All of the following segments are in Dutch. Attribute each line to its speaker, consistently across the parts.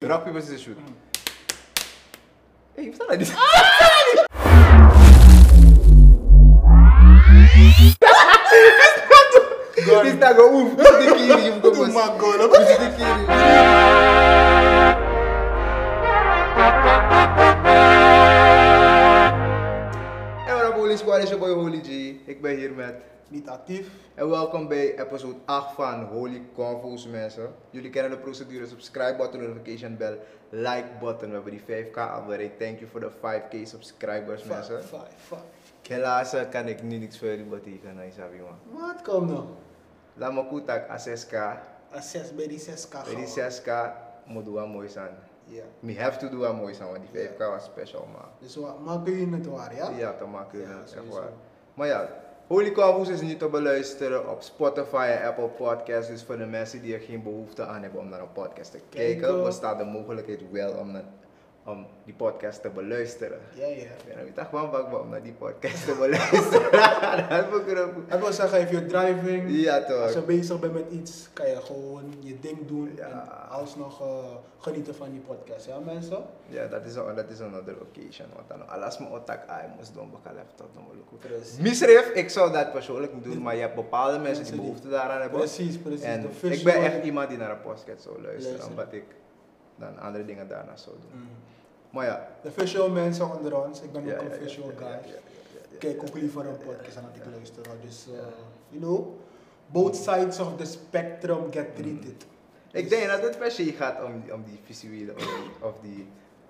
Speaker 1: Drop e você shoot. Ei, salah di Ele tá agora, um de kiri, um como assim. Uma gola, um de kiri. Hey, what up, Holy Squad? It's your boy Holy G. Ik ben hier met
Speaker 2: Niet actief.
Speaker 1: En welkom bij episode 8 van Holy Convo's mensen. Jullie kennen de procedure, subscribe button, notification bell, like button. We hebben die 5k al bereikt. Thank you voor de 5k subscribers mensen.
Speaker 2: Fuck, fuck, fuck.
Speaker 1: Helaas eh, kan ik nu niks voor jullie betekenen, Isabi eh, man.
Speaker 2: Wat komt nou?
Speaker 1: Laat me goed tak, a 6k.
Speaker 2: Een 6 bij die 6k
Speaker 1: Bij die
Speaker 2: gaan.
Speaker 1: 6k moet doen aan mooi zijn.
Speaker 2: Ja.
Speaker 1: We have to do aan mooi zijn, want die 5k was special man.
Speaker 2: Dus wat maken jullie het waar, ja?
Speaker 1: Ja, te maken.
Speaker 2: Ja,
Speaker 1: echt
Speaker 2: sowieso.
Speaker 1: waar. Maar ja, Holy Convo's is nu te beluisteren op Spotify en Apple Podcasts. Dus voor de mensen die er geen behoefte aan hebben om naar een podcast te kijken,
Speaker 2: Kijken.
Speaker 1: bestaat de mogelijkheid wel om, naar- om die podcast te beluisteren.
Speaker 2: Ja, ja.
Speaker 1: Ik ben er niet echt van bang om naar die podcast te beluisteren. Dat heb ik er ook-
Speaker 2: Ik wil zeggen, if you're driving,
Speaker 1: Ja toch.
Speaker 2: als je bezig bent met iets, kan je gewoon je ding doen
Speaker 1: Ja.
Speaker 2: en alsnog eh, genieten van die podcast, ja mensen?
Speaker 1: Ja, dat is, een- dat is another occasion. Want dan alles mijn otak aan moest doen, baka laptop dan moeilijk.
Speaker 2: Precies.
Speaker 1: Misrif, ik zou dat persoonlijk niet doen, maar je hebt bepaalde mensen die behoefte daaraan hebben.
Speaker 2: Precies, precies.
Speaker 1: En
Speaker 2: De fish
Speaker 1: ik ben E
Speaker 2: one.
Speaker 1: echt iemand die naar een podcast zou luisteren,
Speaker 2: Luisteren.
Speaker 1: omdat ik dan andere dingen daarna zou doen.
Speaker 2: Mm.
Speaker 1: Maar ja.
Speaker 2: De visual mensen onder ons, ik ben
Speaker 1: ja,
Speaker 2: ook
Speaker 1: ja,
Speaker 2: een
Speaker 1: ja,
Speaker 2: visual
Speaker 1: ja,
Speaker 2: guy.
Speaker 1: ja, ja, ja, ja,
Speaker 2: kijk ook
Speaker 1: ja,
Speaker 2: liever een
Speaker 1: ja,
Speaker 2: podcast
Speaker 1: ja,
Speaker 2: dan dat ik
Speaker 1: ja.
Speaker 2: luister. Dus, eh, you know, both sides of the spectrum get treated.
Speaker 1: Mm-hmm.
Speaker 2: Dus,
Speaker 1: Ik denk dat het per se gaat om, die- om die visuele of die- of die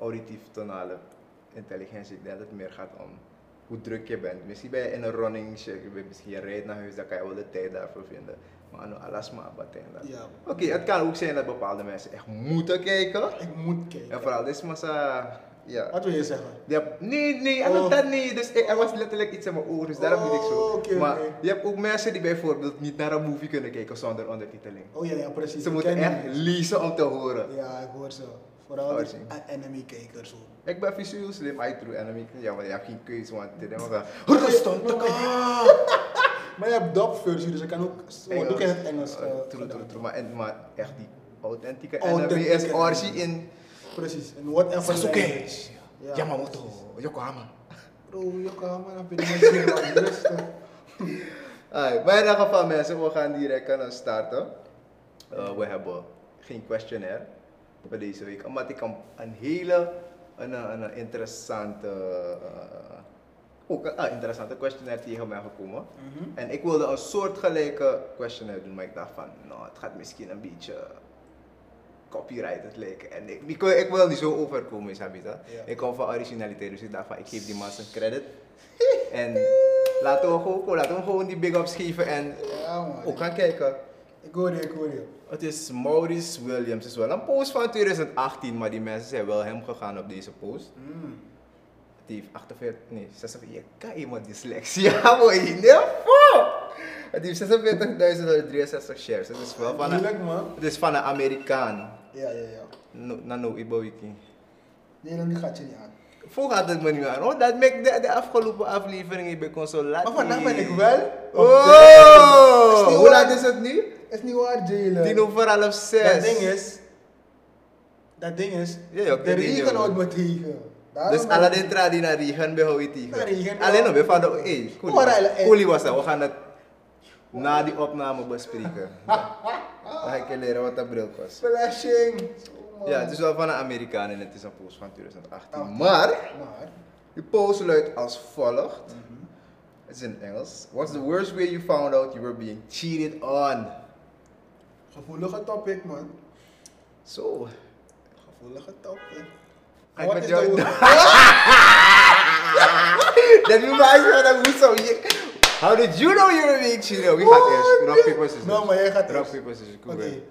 Speaker 1: auditief-tonale intelligentie. Ik denk dat het meer gaat om hoe druk je bent. Misschien ben je in een running, shit, je bent- misschien je rijdt naar huis, dan kan je wel de tijd daarvoor vinden. Maar aan alles maar wat en dat.
Speaker 2: Ja,
Speaker 1: Oké, het kan ook zijn dat bepaalde mensen echt moeten kijken.
Speaker 2: ik moet kijken.
Speaker 1: En vooral, dit is maar zo, ja.
Speaker 2: Wat wil je zeggen?
Speaker 1: Je hebt- nee, nee, en
Speaker 2: Oh.
Speaker 1: dat niet. Dus ik- er was letterlijk iets in mijn oor, dus daarom deed ik zo.
Speaker 2: Oh, oké,
Speaker 1: maar
Speaker 2: oké.
Speaker 1: je hebt ook mensen die bijvoorbeeld niet naar een movie kunnen kijken zonder ondertiteling.
Speaker 2: Oh ja, ja precies.
Speaker 1: Ze
Speaker 2: Ik
Speaker 1: moeten
Speaker 2: ken die
Speaker 1: echt
Speaker 2: mensen.
Speaker 1: lezen om te horen.
Speaker 2: Ja, ik hoor ze. Vooral
Speaker 1: Oh,
Speaker 2: die
Speaker 1: zie.
Speaker 2: a- anime-kijkers. hoor.
Speaker 1: Ik ben visueel slim, I true enemy. Ja, maar je hebt geen keuze, want dit is wel. Ah!
Speaker 2: Maar je hebt dubversie, dus ik kan ook... zo- Doe ik in het Engels. eh,
Speaker 1: Oh, True, true,
Speaker 2: gedaan.
Speaker 1: true. Maar, en- maar echt die authentieke enemy
Speaker 2: Authentieke
Speaker 1: is orgie in
Speaker 2: Precies. En whatever language. Ja.
Speaker 1: Yamamoto, Yokohama.
Speaker 2: Bro, je kan maar naar binnen. Rustig.
Speaker 1: Alright, maar in ieder geval mensen, we gaan direct kunnen starten. Eh, we hebben geen questionnaire voor deze week, omdat ik een, een hele een, een een interessante, eh, ook een ah, interessante questionnaire tegen mij gekomen.
Speaker 2: Mhm.
Speaker 1: En ik wilde een soortgelijke questionnaire doen, maar ik dacht van, nou, het gaat misschien een beetje copyrighted lijken. En ik, ik, wil- ik wil niet zo overkomen, is Habita.
Speaker 2: Ja.
Speaker 1: Ik kom van originaliteit, dus ik dacht van, ik geef die man zijn credit. en laten we, gewoon, laten we hem gewoon die big ups geven en
Speaker 2: Ja, man.
Speaker 1: ook gaan kijken.
Speaker 2: Ik hoor je, ik hoor je.
Speaker 1: Het is Maurice Williams, het is wel een post van 2018, maar die mensen zijn wel hem gegaan op deze post.
Speaker 2: Mm.
Speaker 1: Die heeft 48, nee, 46, je kan iemand dyslexie Ja, boy, nee, fuck! Het heeft 46.163 shares, het is wel van een,
Speaker 2: Moeilijk, man.
Speaker 1: het is van een Amerikaan.
Speaker 2: Ja, ja, ja.
Speaker 1: No, na no, Ibawiki.
Speaker 2: Nederland die gaat je niet aan.
Speaker 1: Vroeg had het me niet aan, oh, dat maakt de, de afgelopen aflevering, ik ben zo laat.
Speaker 2: Maar vandaag ben ik
Speaker 1: hier.
Speaker 2: wel. Is
Speaker 1: Oh!
Speaker 2: niet
Speaker 1: Hoe
Speaker 2: waar.
Speaker 1: laat is het nu?
Speaker 2: Is niet waar, Jalen.
Speaker 1: Tien over half zes.
Speaker 2: Dat ding uh, is. Dat ding is.
Speaker 1: Ja, ja, oké,
Speaker 2: de
Speaker 1: die
Speaker 2: regen
Speaker 1: dingen.
Speaker 2: houdt me tegen. Daarom
Speaker 1: Dus
Speaker 2: ben ik-
Speaker 1: Aladdin trad die naar Regen bij Houwiti.
Speaker 2: Naar Regen.
Speaker 1: Alleen nog, we van de... Hey,
Speaker 2: Oh, Ryle, hey.
Speaker 1: Koelie was dat. We gaan het na die opname bespreken. Ja. Dan ga ik je leren wat dat bril was.
Speaker 2: Flashing. Zo, man.
Speaker 1: Ja, het is wel van een Amerikaan en het is een post van 2018. Maar,
Speaker 2: Oh. Maar.
Speaker 1: die post luidt als volgt. Het is in Engels. What's the worst way you found out you were being cheated on?
Speaker 2: Gevoelige topic, man.
Speaker 1: Zo.
Speaker 2: Gevoelige topic.
Speaker 1: Ga ik
Speaker 2: Wat
Speaker 1: met
Speaker 2: is
Speaker 1: jou
Speaker 2: de-
Speaker 1: doen? Dat is mij zo, dat moet zo. Je- How did you know you were being cheated on? Wie gaat eerst? Rock, paper, scissors.
Speaker 2: No, maar jij gaat
Speaker 1: Rock,
Speaker 2: eerst.
Speaker 1: paper, scissors. Kom
Speaker 2: Oké.
Speaker 1: weer.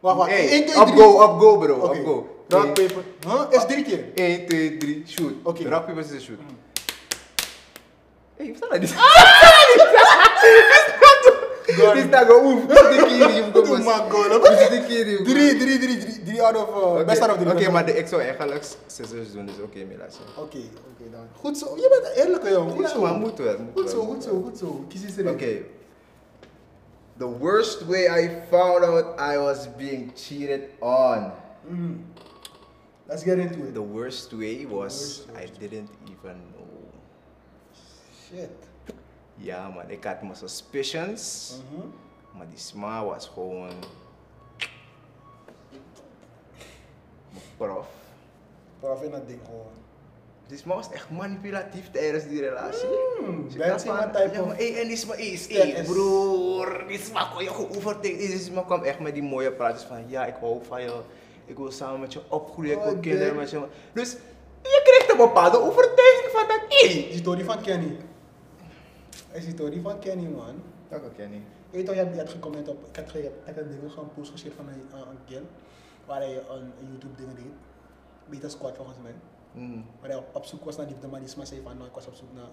Speaker 2: Wacht, wacht.
Speaker 1: Hey,
Speaker 2: 1, 2, 3.
Speaker 1: up go, up go bro,
Speaker 2: Oké.
Speaker 1: up go.
Speaker 2: Rock,
Speaker 1: Rock,
Speaker 2: paper. Huh? Is drie keer.
Speaker 1: 1, 2, 3, shoot.
Speaker 2: Oké.
Speaker 1: Rock, paper, scissors, shoot. Hey, je staat niet.
Speaker 2: Gone.
Speaker 1: Je staat gewoon oef. Dit keer je
Speaker 2: Doe maar, goal. Oké.
Speaker 1: Dit keer je
Speaker 2: Drie, drie, drie, drie. Drie out of... eh, Best out of drie.
Speaker 1: Oké,
Speaker 2: best
Speaker 1: maar
Speaker 2: out
Speaker 1: de- ik zou eigenlijk scissors doen, dus oké, Mila. zo.
Speaker 2: of- Oké, oké dan. Goed zo. Je bent een eerlijke jongen. Goed
Speaker 1: Ja,
Speaker 2: zo.
Speaker 1: maar moet wel. moet
Speaker 2: Goed
Speaker 1: wel.
Speaker 2: zo, goed zo, goed zo. Kies iets erin.
Speaker 1: Okay. The worst way I found out I was being cheated on.
Speaker 2: Mm. Let's get into it.
Speaker 1: The worst way was
Speaker 2: worst,
Speaker 1: I didn't even know.
Speaker 2: Shit.
Speaker 1: Yeah, man, ik had mijn suspicions.
Speaker 2: Mm-hmm.
Speaker 1: Maar die sma was gewoon. Mijn prof.
Speaker 2: Prof in dat ding gewoon.
Speaker 1: Die sma was echt manipulatief tijdens die relatie.
Speaker 2: Hmm,
Speaker 1: Ze
Speaker 2: that's
Speaker 1: dacht
Speaker 2: my
Speaker 1: van,
Speaker 2: type
Speaker 1: ja,
Speaker 2: of...
Speaker 1: maar, hey, en die sma is,
Speaker 2: Ja,
Speaker 1: hey,
Speaker 2: is-
Speaker 1: broer. Die sma kon je goed overdenken. Die sma kwam echt met die mooie praatjes van, ja, ik hou van je. Ik wil samen met je opgroeien, ik
Speaker 2: Oh,
Speaker 1: wil kinderen
Speaker 2: damn.
Speaker 1: met je. Dus je kreeg een bepaalde overtuiging van dat, hey.
Speaker 2: Is die Tony van Kenny? Eh, Is die Tony van Kenny, man?
Speaker 1: Dat kan ik niet.
Speaker 2: Ik weet toch, je hebt, je hebt gecomment op, ik heb, ge- ik heb een ding gewoon post gezien van een, een, een kind, waar hij een, een YouTube ding deed, Beta Squad volgens mij,
Speaker 1: Hmm.
Speaker 2: waar hij op, op zoek was naar liefde, maar die smaak zei van, nou ik was op zoek naar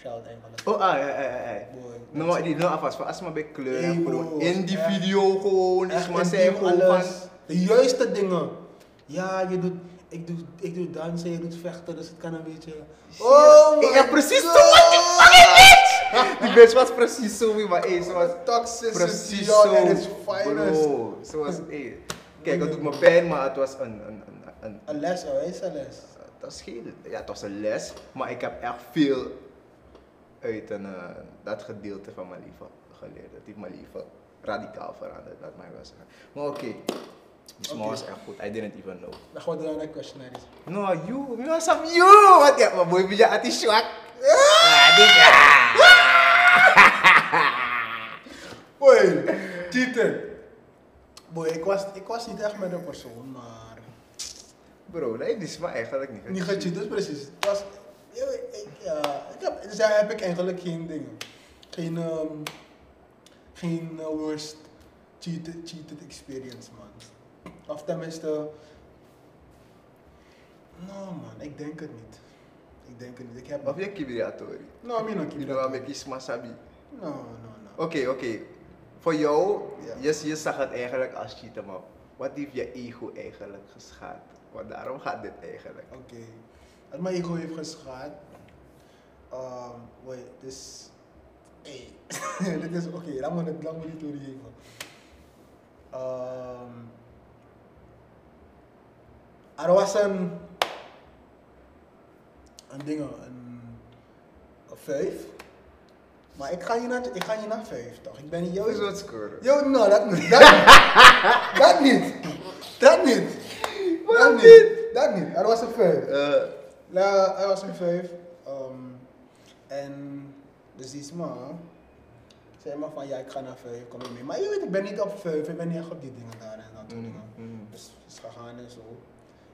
Speaker 2: child eigenlijk.
Speaker 1: Oh, ah, ja, ja, ja, ja.
Speaker 2: Boy.
Speaker 1: Nou, maar die nou alvast van astma bij kleur
Speaker 2: Hey,
Speaker 1: en gewoon
Speaker 2: Eh, bro, Eh,
Speaker 1: in die
Speaker 2: echt.
Speaker 1: video gewoon, is
Speaker 2: Echt
Speaker 1: maar
Speaker 2: intiem
Speaker 1: zij gewoon
Speaker 2: alles.
Speaker 1: van,
Speaker 2: De juiste dingen. Ja, je doet, ik doe, ik doe dansen, je doet vechten, dus het kan een beetje... Oh
Speaker 1: ik
Speaker 2: my
Speaker 1: heb precies zo
Speaker 2: God.
Speaker 1: wat je fucking bitch! Oh Die bitch was precies zo wie, maar hey, ze was
Speaker 2: Toxicity
Speaker 1: precies
Speaker 2: on
Speaker 1: zo,
Speaker 2: at its finest.
Speaker 1: bro. Ze was, hey. Kijk, het doet me pijn, maar het was een, een, een, een,
Speaker 2: Een les, hoor, is een les.
Speaker 1: het was geen, ja, het was een les, maar ik heb echt veel uit een, eh, dat gedeelte van mijn leven geleerd. Het heeft mijn leven radicaal veranderd, laat mij wel zeggen. Maar oké, die small
Speaker 2: Oké.
Speaker 1: was echt goed, I didn't even know.
Speaker 2: Dan gaan we door naar de questionaires.
Speaker 1: No, you. You some you. Wat ya? Boy bijak hati syuak. Ah, dia.
Speaker 2: Oei, cheaten. Boy, ik was, ik was niet echt met een persoon, maar...
Speaker 1: Bro, nee, dit is maar eigenlijk niet.
Speaker 2: Niet gecheat, dus precies. Het was, ja, ik, ja, ik heb, dus daar heb ik eigenlijk geen dingen. Geen, ehm, geen eh, worst cheated, cheated experience, man. Of tenminste... Nou, man, ik denk het niet. Ik denk het niet. Ik heb...
Speaker 1: Of ya kibiratori.
Speaker 2: Nou, ik
Speaker 1: You know, make is masabi.
Speaker 2: No, no, no.
Speaker 1: Oké, oké. Voor jou,
Speaker 2: Ja.
Speaker 1: yes, eh, je zag het eigenlijk als cheaten, maar wat heeft je ego eh, eigenlijk geschaad? Want daarom gaat dit eigenlijk.
Speaker 2: Oké. Wat mijn ego heeft geschaad. Ehm, wait, dus. Hey. dit is oké, laat me het lang niet doorgeven. Ehm. er was een. een ding, een. een vijf. Maar ik ga niet naar, ik ga niet naar vijf toch? Ik ben niet
Speaker 1: Jou is
Speaker 2: jouw.
Speaker 1: wat scoren.
Speaker 2: Yo, no, dat niet. Dat niet. dat niet. Dat niet.
Speaker 1: Waarom
Speaker 2: Dat niet. Dat niet. Er was een vijf.
Speaker 1: Eh,
Speaker 2: Ja, hij was een vijf. ehm, en dus die is maar. Zei maar van ja, ik ga naar vijf, kom je mee. Maar je weet, ik ben niet op vijf, ik ben niet echt op die dingen daar en dat soort
Speaker 1: mm,
Speaker 2: dingen.
Speaker 1: mm.
Speaker 2: Dus is gegaan en zo.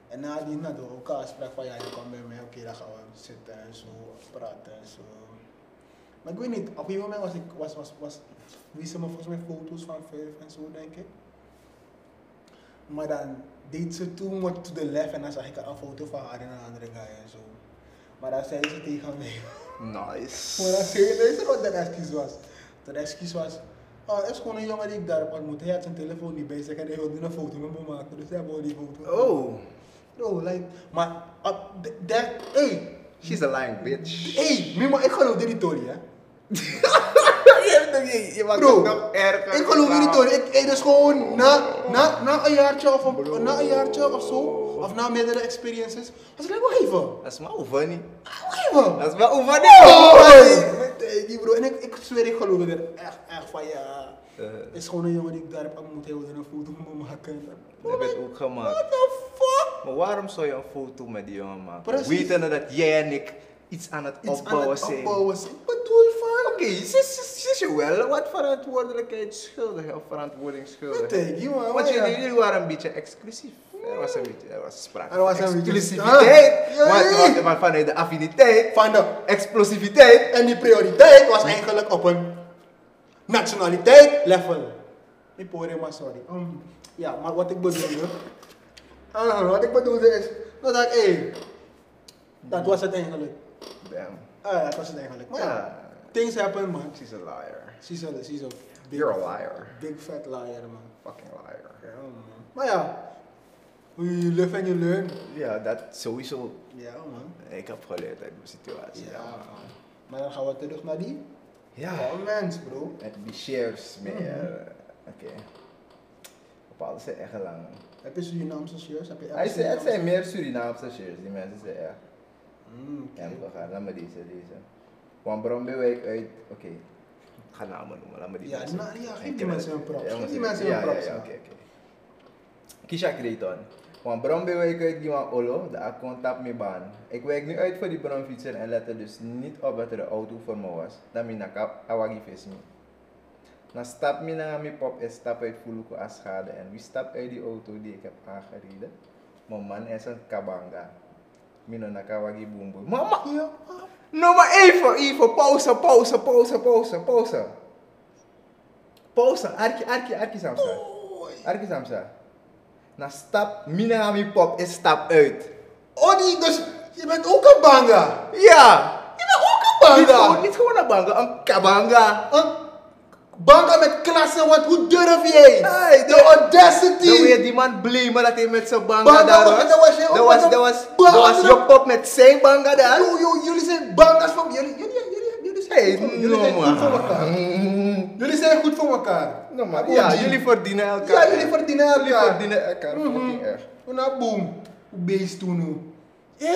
Speaker 2: En nadien hadden we elkaar afspraak van ja, je komt bij mij, oké, dan gaan we zitten en zo, praten en zo. Maar ik weet niet, op een gegeven moment was ik, was, was, was, wisten me volgens mij foto's van vijf en zo, denk ik. Maar dan deed ze toen wat to the left en dan zag ik een foto van haar en een andere guy en zo. Maar dan zei ze tegen mij,
Speaker 1: Nice.
Speaker 2: maar dan zei ze, weet je wat dat excuus was? Dat excuus was, oh, er is gewoon een jongen die ik daar heb ontmoet. Hij had zijn telefoon niet bij zich en hij wilde een foto met me maken, dus hij wilde die foto.
Speaker 1: Oh,
Speaker 2: Bro, like, maar, op de- dat, hey,
Speaker 1: she's a lying bitch.
Speaker 2: hey, Mimo, ik geloof dit niet, Tony, hè.
Speaker 1: je, hebt- je, je maakt
Speaker 2: Bro,
Speaker 1: het nog erger.
Speaker 2: Ik geloof jullie
Speaker 1: Nou.
Speaker 2: toch, ik eet dus gewoon na, na, na een jaartje of een, na een jaartje of zo, of na meerdere experiences, was ik like, wacht even,
Speaker 1: Dat is maar over niet.
Speaker 2: wacht even.
Speaker 1: Dat is wel over
Speaker 2: Oh, met, eh, die bro, en ik, ik zweer, ik geloof er echt, echt van ja. Het is gewoon een jongen die ik daar heb ontmoet, hij wilde een foto van me maken.
Speaker 1: Dat werd ook gemaakt.
Speaker 2: What the fuck?
Speaker 1: Maar waarom zou je een foto met die jongen maken?
Speaker 2: Precies.
Speaker 1: Wetende dat jij en ik iets aan het
Speaker 2: Iets aan
Speaker 1: opbouwen
Speaker 2: het
Speaker 1: zijn.
Speaker 2: opbouwen zijn. Wat bedoel je van?
Speaker 1: Oké, ze is- ze is je wel wat verantwoordelijkheid schuldig of verantwoording schuldig.
Speaker 2: Wat denk je, man?
Speaker 1: Want
Speaker 2: Wat
Speaker 1: jullie,
Speaker 2: ja.
Speaker 1: jullie waren een beetje exclusief. Er was een beetje, er was sprake
Speaker 2: Er was
Speaker 1: van
Speaker 2: een beetje-
Speaker 1: exclusiviteit.
Speaker 2: Ah, ja,
Speaker 1: maar-
Speaker 2: ja.
Speaker 1: maar- maar vanuit de affiniteit,
Speaker 2: Van de,
Speaker 1: explosiviteit.
Speaker 2: en die prioriteit was eigenlijk op een nationaliteit level. Ik hoor maar sorry. Um, ja, maar wat ik bedoelde. Ah, wat ik bedoelde is. Nou, dat, hey, dat was het eigenlijk.
Speaker 1: Damn,
Speaker 2: Ah, dat was het eigenlijk. Maar ja,
Speaker 1: Ja.
Speaker 2: things happen, man.
Speaker 1: she's a liar.
Speaker 2: She's a, she's a big,
Speaker 1: You're a liar.
Speaker 2: big fat liar, man.
Speaker 1: Fucking liar.
Speaker 2: Ja, man. Maar ja, you live and you learn.
Speaker 1: Ja, dat sowieso.
Speaker 2: Ja, man.
Speaker 1: Ik heb geleerd uit mijn situatie.
Speaker 2: Ja, man. Maar dan gaan we terug naar die
Speaker 1: Ja. Mhm.
Speaker 2: comments, bro.
Speaker 1: En die shares meer. Oké. eh, Bepaalde zijn echt lang.
Speaker 2: Heb je Surinaamse shares? Heb je elke
Speaker 1: Hij zei, het
Speaker 2: Surinaamse-
Speaker 1: zijn meer Surinaamse shares, die mensen zeggen ja.
Speaker 2: Mm, oké.
Speaker 1: Ja, we gaan, laat maar deze, deze. Want Brombe wijk uit, oké.
Speaker 3: Ik ga namen noemen, laat me die
Speaker 2: Ja,
Speaker 3: mensen.
Speaker 2: na- ja, geef die
Speaker 3: Enkele-
Speaker 2: mensen een prop.
Speaker 1: Ja,
Speaker 2: Geef die
Speaker 1: want-
Speaker 2: mensen
Speaker 1: ja,
Speaker 2: een prop.
Speaker 1: Ja, ja,
Speaker 2: man.
Speaker 1: oké, oké. Kisha Kreton. Want Brombe wijk uit die van Olo, de account tap me baan. Ik wijk nu uit voor die bromfietser en lette dus niet op dat er een auto voor me was. Dan ben ik kap, awagi vis me. Dan stap me naar mijn pop en stap uit Fuluko als schade. ha En wie stapt uit die auto die ik heb aangereden? Mijn man is een kabanga. Mino nakawagi boom boom. Mama!
Speaker 2: Ja.
Speaker 1: Noem maar even, even. Pauze, pauze, pauze, pauze, pauze. Pauze. Arki, arki, arki samsa. Arki samsa. Na stap, minami pop en stap uit.
Speaker 2: Oh, die, dus je bent ook een banga.
Speaker 1: Ja.
Speaker 2: Je bent ook een
Speaker 1: Niet gewoon,
Speaker 2: banga.
Speaker 1: niet gewoon een banga, een kabanga.
Speaker 2: Een banga met klasse, want hoe durf jij?
Speaker 1: Hey,
Speaker 2: de
Speaker 1: de- Dan
Speaker 2: audacity.
Speaker 1: weer die man blamen dat hij met zijn banga
Speaker 2: Banga,
Speaker 1: daar
Speaker 2: want
Speaker 1: was.
Speaker 2: dat was jij ook
Speaker 1: Dat was,
Speaker 2: met
Speaker 1: dat
Speaker 2: een
Speaker 1: was,
Speaker 2: banga.
Speaker 1: dat was je pop met zijn banga daar.
Speaker 2: Yo, yo, jullie zijn banga's van jullie. Jullie, jullie, jullie zijn
Speaker 1: Hey,
Speaker 2: goed voor- jullie zijn goed voor elkaar.
Speaker 1: man.
Speaker 2: Jullie zijn goed voor elkaar.
Speaker 1: No, maar
Speaker 2: Abu
Speaker 1: ja,
Speaker 2: Haji.
Speaker 1: jullie verdienen elkaar.
Speaker 2: Ja, jullie verdienen elkaar.
Speaker 1: Jullie verdienen elkaar, fucking echt.
Speaker 2: Una boom. Hoe beest toen nu? Eh?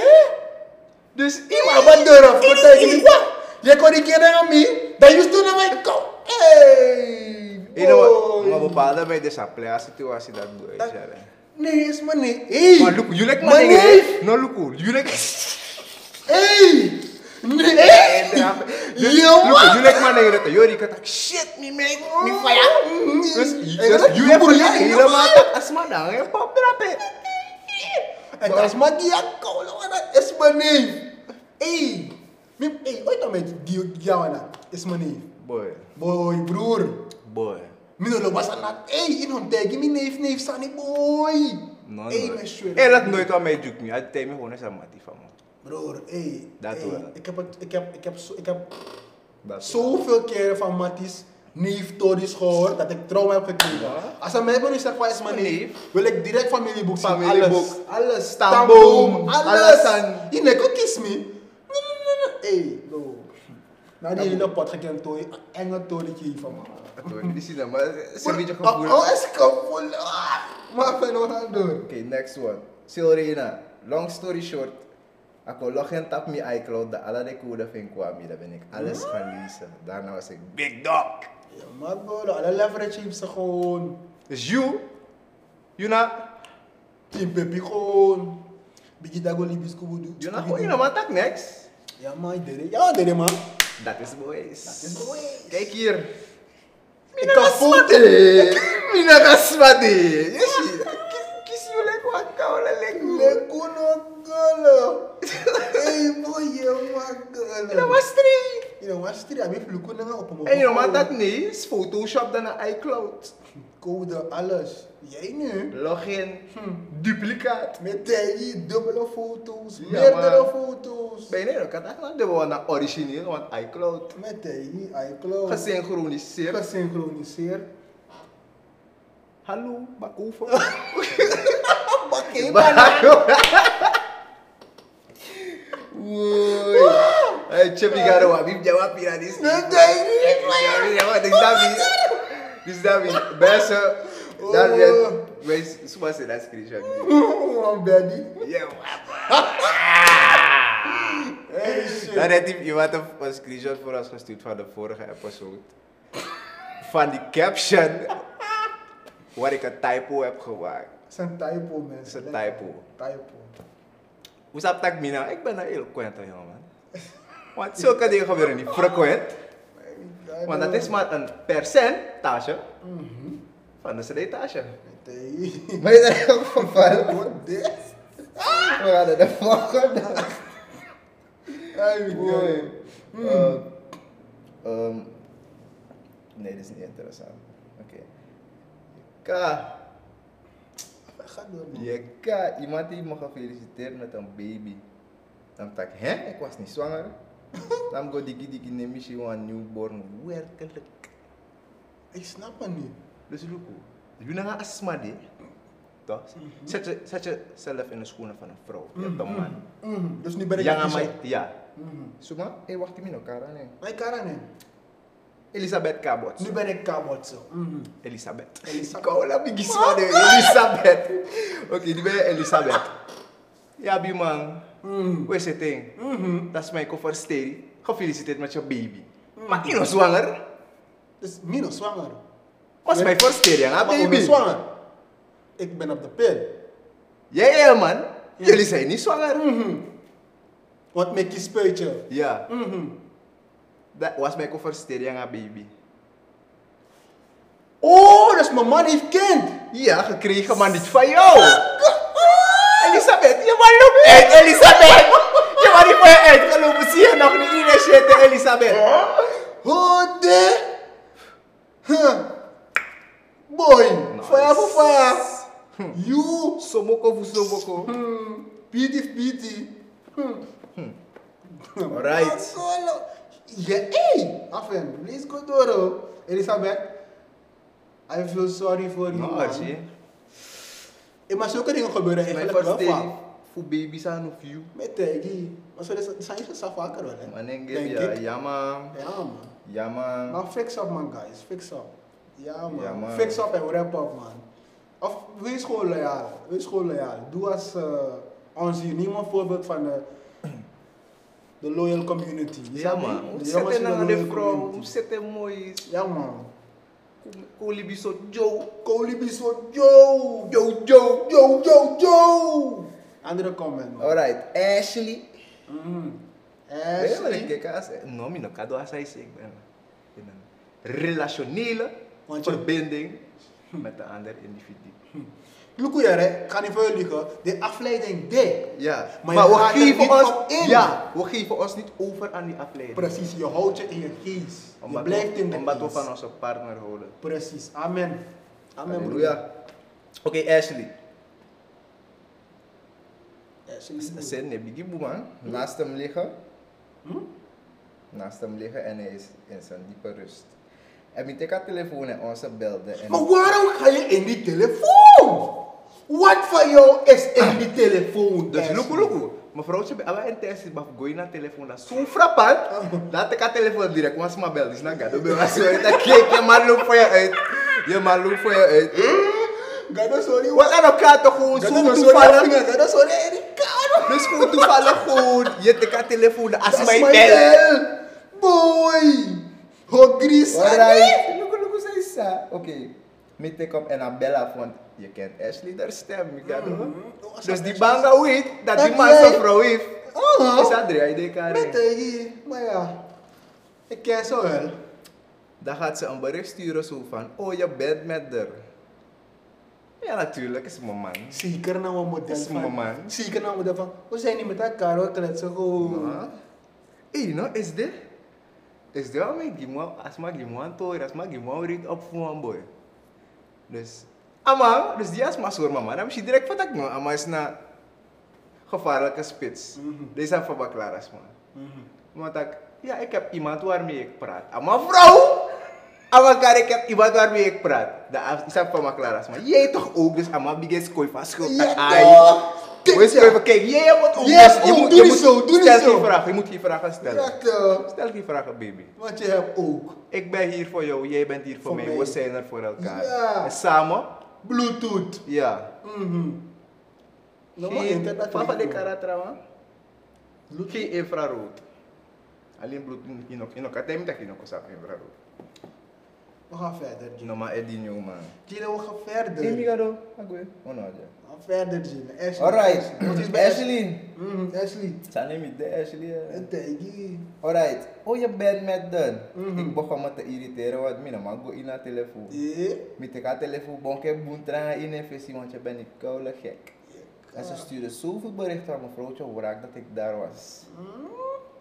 Speaker 1: Dus
Speaker 2: Maar wat durf? Wat zeg je? Wat? Je kon die keer aan mij. Dat je toen naar mij kom. Hey!
Speaker 1: You know what?
Speaker 2: boy.
Speaker 1: Mga bepaalde bij de saplea situatie dat boy.
Speaker 2: Dat-
Speaker 1: Jaren.
Speaker 2: Nee, is maar nee. Hey!
Speaker 1: Maar look, you like my
Speaker 2: Maar nee!
Speaker 1: nigga. No look, you like.
Speaker 2: Hey! Nee! Hey!
Speaker 1: Dus,
Speaker 2: Yo,
Speaker 1: look, you
Speaker 2: what?
Speaker 1: like my nigga. Yori kata shit me make me fire.
Speaker 2: Oh,
Speaker 1: Dus
Speaker 2: Hey,
Speaker 1: dus
Speaker 2: dat-
Speaker 1: you
Speaker 2: dat
Speaker 1: have
Speaker 2: boeien,
Speaker 1: to
Speaker 2: dat
Speaker 1: helemaal
Speaker 2: boeien.
Speaker 1: tak asma dang en pop drop it.
Speaker 2: En dat is maar die akkool, dat is mijn neef. Hey, Mim- hey, ooit al met die Jawana, is mijn neef.
Speaker 1: Boy,
Speaker 2: Boy, broer.
Speaker 1: boy.
Speaker 2: Mino lo was aan hey, in hom tegen mijn neef, neef, Sani, boy.
Speaker 1: No,
Speaker 2: hey,
Speaker 1: no.
Speaker 2: mijn schwester.
Speaker 1: Eh, dat nooit aan mij juk me. Hij tijd me gewoon eens aan Matty van me.
Speaker 2: Broer, hey.
Speaker 1: Dat
Speaker 2: hey,
Speaker 1: wel.
Speaker 2: Ik heb, het- ik heb, ik heb, zo- ik heb
Speaker 1: Dat-
Speaker 2: zoveel keren van Matties neef Tories gehoord dat ik trauma heb gekregen. Als een mij nu zegt van is mijn neef, wil ik direct familieboek zien.
Speaker 1: Familieboek.
Speaker 2: Alles, alles.
Speaker 1: Stamboom,
Speaker 2: Stamboom,
Speaker 1: alles
Speaker 2: alles.
Speaker 1: aan-
Speaker 2: Je nek ook kies me. Nee, nee, nee, nee. Hey, bro. Nou, die hele pot gekend Tory, enge Torietje van me.
Speaker 1: Dat hoor je niet zien, maar het is een beetje
Speaker 2: Oh,
Speaker 1: gevoelig.
Speaker 2: oh, is gevoel. Ah, Maar fijn, we gaan door.
Speaker 1: Okay, next one. Silrena. Long story short. Ako login tap mi iCloud, de ala de code vind kwam Daar ben ik alles gaan lezen. Daarna was ik big dog.
Speaker 2: Ja, maar bro, alle leverage heeft ze gewoon.
Speaker 1: Dus you, you na,
Speaker 2: Team Pepi gewoon. Biggie Dago Libis Kubudu.
Speaker 1: you na gewoon, you na matak next.
Speaker 2: Ja, maar dere. Ja, dere, man.
Speaker 1: Dat is boys.
Speaker 2: Dat is boys.
Speaker 1: Kijk hier.
Speaker 2: Ik kan
Speaker 1: Smati. Mina ka smati. Yeshi. Kiss you like wat kaula like me.
Speaker 2: Lekuno golo. Hey boy, je mag golo.
Speaker 1: You na was three.
Speaker 2: Je nou was drie. Heb je vloeken dan op hem?
Speaker 1: En you na matak nee, is Photoshop dan na iCloud.
Speaker 2: Code, alles. Jij nu?
Speaker 1: Login,
Speaker 2: Hm.
Speaker 1: duplicaat.
Speaker 2: Met die dubbele foto's,
Speaker 1: Ja,
Speaker 2: meerdere
Speaker 1: maar-
Speaker 2: foto's.
Speaker 1: Ben je nee, kan echt naar de naar origineel, want iCloud
Speaker 2: Met die iCloud.
Speaker 1: gesynchroniseerd.
Speaker 2: Gesynchroniseerd.
Speaker 1: Hallo, Bakoever.
Speaker 2: Bakkie,
Speaker 1: Woi. Eh, Hey, Chevy Garo, Habib jawab ya di sini.
Speaker 2: Nee, nee, niet meer.
Speaker 1: Jawab di sini. Di sini. Biasa dan
Speaker 2: Oh.
Speaker 1: dia wes semua sudah screenshot.
Speaker 2: man. Daddy.
Speaker 1: Ya, apa?
Speaker 2: Hey shit.
Speaker 1: Dan heeft iemand een een screenshot voor ons gestuurd van de vorige episode. Van die caption waar ik een typo heb gemaakt.
Speaker 2: Het is een typo, mensen.
Speaker 1: is
Speaker 2: Het
Speaker 1: een typo.
Speaker 2: Typo.
Speaker 1: Hoe zat dat mina? Ik ben een eloquent, jongen. Want zulke dingen gebeuren niet frequent. Want dat is maar een percentage van de CD-tage.
Speaker 2: Meteen.
Speaker 1: Mhm. Ben je daar ook van
Speaker 2: Wat dit?
Speaker 1: We gaan naar de volgende.
Speaker 2: Ay,
Speaker 1: Mooi.
Speaker 2: boy.
Speaker 1: Ehm, ehm, nee, dit is niet interessant. Oké. Ka.
Speaker 2: Ga door, man.
Speaker 1: Je ka. Iemand die me gefeliciteerd met een baby. Dan dacht ik, hè? Ik was niet zwanger. Dan go dikkie dikkie neem ik je een newborn. Werkelijk.
Speaker 2: Ik snap het niet.
Speaker 1: Dus Luko, je bent een astma, hè? Toch? Zet je- Zet jezelf in de schoenen van een vrouw. Je
Speaker 2: Hmm.
Speaker 1: hebt een man.
Speaker 2: Mhm, Dus nu ben ik
Speaker 1: ya, Yang
Speaker 2: het
Speaker 1: amai, ya.
Speaker 2: kiezen.
Speaker 1: ja.
Speaker 2: Mhm.
Speaker 1: Suma, eh, wacht even, no, Kara, nee.
Speaker 2: Ay, Karen, hè?
Speaker 1: Elisabeth Cabot.
Speaker 2: Nu ben ik kabot zo.
Speaker 1: Mm-hmm.
Speaker 2: Mhm.
Speaker 1: Elisabeth.
Speaker 2: Elisabeth.
Speaker 1: Ikaw wala bigisma na yun. Elisabeth. Okay, di ba Elisabeth? Yabi man.
Speaker 2: Mm.
Speaker 1: Wes ting. Tas may ko for stay. Ka-felicitate met your baby. Maar ino zwanger.
Speaker 2: Dus Mino zwanger.
Speaker 1: Was
Speaker 2: Nee.
Speaker 1: may for stay yan, ha
Speaker 2: Maar ik ben
Speaker 1: Ah, baby?
Speaker 2: zwanger. Ik ben op de pil.
Speaker 1: Yeah, yeah, Ya, man. Ya, Jullie zijn niet
Speaker 2: Mhm.
Speaker 1: zwanger.
Speaker 2: Mm-hmm. Wat met je spuitje.
Speaker 1: Ja.
Speaker 2: Mhm.
Speaker 1: Dat Ya, was mijn koffer stay yan, ha baby.
Speaker 2: Oh, dus mijn man heeft kind.
Speaker 1: Ja, gekregen, maar niet van jou. Elisabeth, je was nog uit, Elisabeth. Je was niet van je uitgelopen, zie je nog niet in de shit, Elisabeth.
Speaker 2: Hoe de? Huh. Boy, fire for fire. You
Speaker 1: Somoko voor somoko.
Speaker 2: beauty beauty.
Speaker 1: Alright.
Speaker 2: Ja, hey. Afen, please go door. oh. Elisabeth, I feel sorry for you.
Speaker 1: Nou,
Speaker 2: man.
Speaker 1: Archie.
Speaker 2: Eh, maar zulke dingen gebeuren
Speaker 1: Mijn
Speaker 2: eigenlijk wel
Speaker 1: versteling
Speaker 2: vaak.
Speaker 1: voor baby's aan of you.
Speaker 2: Met Teggy. Maar zo, dat zijn ze zo vaker wel, hè?
Speaker 4: Man, ik
Speaker 2: Denk
Speaker 4: heb ja,
Speaker 2: ik.
Speaker 4: ja man.
Speaker 2: Ja, man.
Speaker 4: Ja man.
Speaker 2: Maar fix up man guys, fix up. Ja man,
Speaker 4: Ja, man.
Speaker 2: fix up en wrap up man. Of wees gewoon loyaal, wees gewoon loyaal. Doe als eh ons hier, neem een voorbeeld van de, de loyal community.
Speaker 1: Ja
Speaker 2: Je snapt
Speaker 1: man,
Speaker 2: me?
Speaker 1: hoe
Speaker 2: De
Speaker 1: zit hij
Speaker 2: jongens in de
Speaker 1: nou aan
Speaker 2: loyal
Speaker 1: de vrouw? Hoe
Speaker 2: community.
Speaker 1: zit hij mooi?
Speaker 2: Ja man.
Speaker 1: Kolibi zo, Joe.
Speaker 2: Kolibi zo, yo, yo, yo, yo, yo, yo. Andere comment man.
Speaker 4: Alright, Ashley.
Speaker 2: Mhm.
Speaker 4: Ben je wel een
Speaker 2: Ashley,
Speaker 4: kikaas?
Speaker 1: No, mi no kado asay sig. Ik ben in een relationele
Speaker 2: Want je-
Speaker 1: verbinding met een ander individu.
Speaker 2: look hoe je hè, ik ga niet voor je liegen. De afleiding deed.
Speaker 1: Ja,
Speaker 2: Maar
Speaker 1: maar,
Speaker 2: je
Speaker 1: we
Speaker 2: gaat er
Speaker 1: geven
Speaker 2: niet
Speaker 1: ons
Speaker 2: op in.
Speaker 1: Ja, we geven ons niet over aan die afleiding.
Speaker 2: Precies, je houdt je in je geest. Je
Speaker 1: Omdat
Speaker 2: blijft
Speaker 1: we,
Speaker 2: in de
Speaker 1: omdat we
Speaker 2: geest.
Speaker 1: van onze partner houden.
Speaker 2: Precies, amen. Amen broer.
Speaker 4: Halleluja. Oké, Ashley.
Speaker 2: Ja, sowieso.
Speaker 4: Sen heb ik die man naast hem liggen.
Speaker 2: Hm?
Speaker 4: Naast hem liggen en hij is in zijn diepe rust. En ik haar telefoon en onze belde. En
Speaker 2: Maar waarom ga je in die telefoon? Wat van jou is in die telefoon?
Speaker 1: Dus
Speaker 2: Ashley?
Speaker 1: luku luku, mevrouwtje bij alle intenties baf gooi naar telefoon dat zo frappant.
Speaker 2: Oh.
Speaker 1: Laat ik haar telefoon direct, want ze maar bel, dus na gaat. Dan ben je zo uit, dan kijk je maar loop voor je uit. Je maar loop voor je uit.
Speaker 2: Gado sorry.
Speaker 1: Wat aan elkaar toch gewoon
Speaker 2: Gado
Speaker 1: zo
Speaker 2: sorry.
Speaker 1: toevallig.
Speaker 2: Gado sorry. Erika.
Speaker 1: Dus gewoon toevallig gewoon, je tik haar telefoon, dat als
Speaker 2: Dat is
Speaker 1: mij
Speaker 2: mijn
Speaker 1: bel.
Speaker 2: bel. Boy. Hogris.
Speaker 4: Alright. Look, look, zei ze. Oké. Met ik op en haar bel af, want je kent Ashley daar stem. Ik ga doen.
Speaker 1: Dus die banga weet dat die
Speaker 2: Dat
Speaker 1: man
Speaker 2: jij-
Speaker 1: zijn vrouw heeft.
Speaker 2: Oh.
Speaker 1: Is dat draai de
Speaker 4: E?
Speaker 2: Met
Speaker 1: kaart.
Speaker 2: die. Maar ja. Ik ken zo wel.
Speaker 4: Dan gaat ze een bericht sturen zo van, oh je bent met haar.
Speaker 1: Ja natuurlijk, is mijn man.
Speaker 2: Zeker nou een model
Speaker 1: Dat is mijn man.
Speaker 2: Zeker nou een model van. We zijn niet met elkaar hoor. Kletsen gewoon.
Speaker 1: Ah. Hey, no, is dit? Is dit al mijn gimwa? Als mijn gimwa toer, als mijn gimwa reed op voor een boy. Dus, ama, dus die als maar zo'n mama, dan moet je direct van dat man. Ama is na gevaarlijke spits.
Speaker 2: Mhm.
Speaker 1: Deze zijn van baklaras man.
Speaker 2: Mhm.
Speaker 1: Want ik, ja, ik heb iemand waarmee ik praat. Ama vrouw! Ama kar, ik heb iemand waarmee ik praat. Dat is van baklaras man. Jij toch ook, dus ama biggest kooi van schuld.
Speaker 2: Ja,
Speaker 1: aan ai.
Speaker 2: toch. Kijk,
Speaker 1: Wees
Speaker 2: ja.
Speaker 1: even, kijk, jij moet ook.
Speaker 2: Jij
Speaker 1: dus
Speaker 2: ook, doe niet zo, doe niet
Speaker 1: stel
Speaker 2: zo.
Speaker 1: die vragen, je moet die vragen stellen.
Speaker 2: Ja, toch.
Speaker 1: Stel die vragen, baby.
Speaker 2: Want je hebt ook
Speaker 1: Ik ben hier voor jou, jij bent hier voor,
Speaker 2: Voor
Speaker 1: mij.
Speaker 2: mij.
Speaker 1: we zijn er voor elkaar.
Speaker 2: Ja.
Speaker 1: En samen,
Speaker 2: Bluetooth.
Speaker 1: ja.
Speaker 2: Mhm. Dan moet
Speaker 1: Geen,
Speaker 2: je internet
Speaker 1: papa de
Speaker 2: regelen.
Speaker 1: karatra, man. Geen infrarood. Alleen bloed in elkaar. In elkaar, tijd dat je nog eens infrarood.
Speaker 2: We gaan verder, Gino.
Speaker 4: No, maar Eddie Nieuw, man.
Speaker 2: Gino, we gaan verder.
Speaker 4: Hey, Migado. Agwe. Oh, no, ja.
Speaker 2: We gaan verder, Gino. Ashley.
Speaker 4: Alright,
Speaker 2: Want het is bij
Speaker 4: Ashley.
Speaker 2: Mhm, Ashley.
Speaker 4: Zijn hem niet de Ashley? hè?
Speaker 2: En Teggy.
Speaker 4: Alright, oh je bent met dan.
Speaker 2: Mhm.
Speaker 4: Ik begon me te irriteren, want mina mag go in haar telefoon.
Speaker 2: Eh?
Speaker 4: Met ik haar telefoon bonke boentra in en visie, want je bent niet koude gek. En ze stuurde zoveel berichten aan mevrouwtje Wraak dat ik daar was.
Speaker 2: Mhm.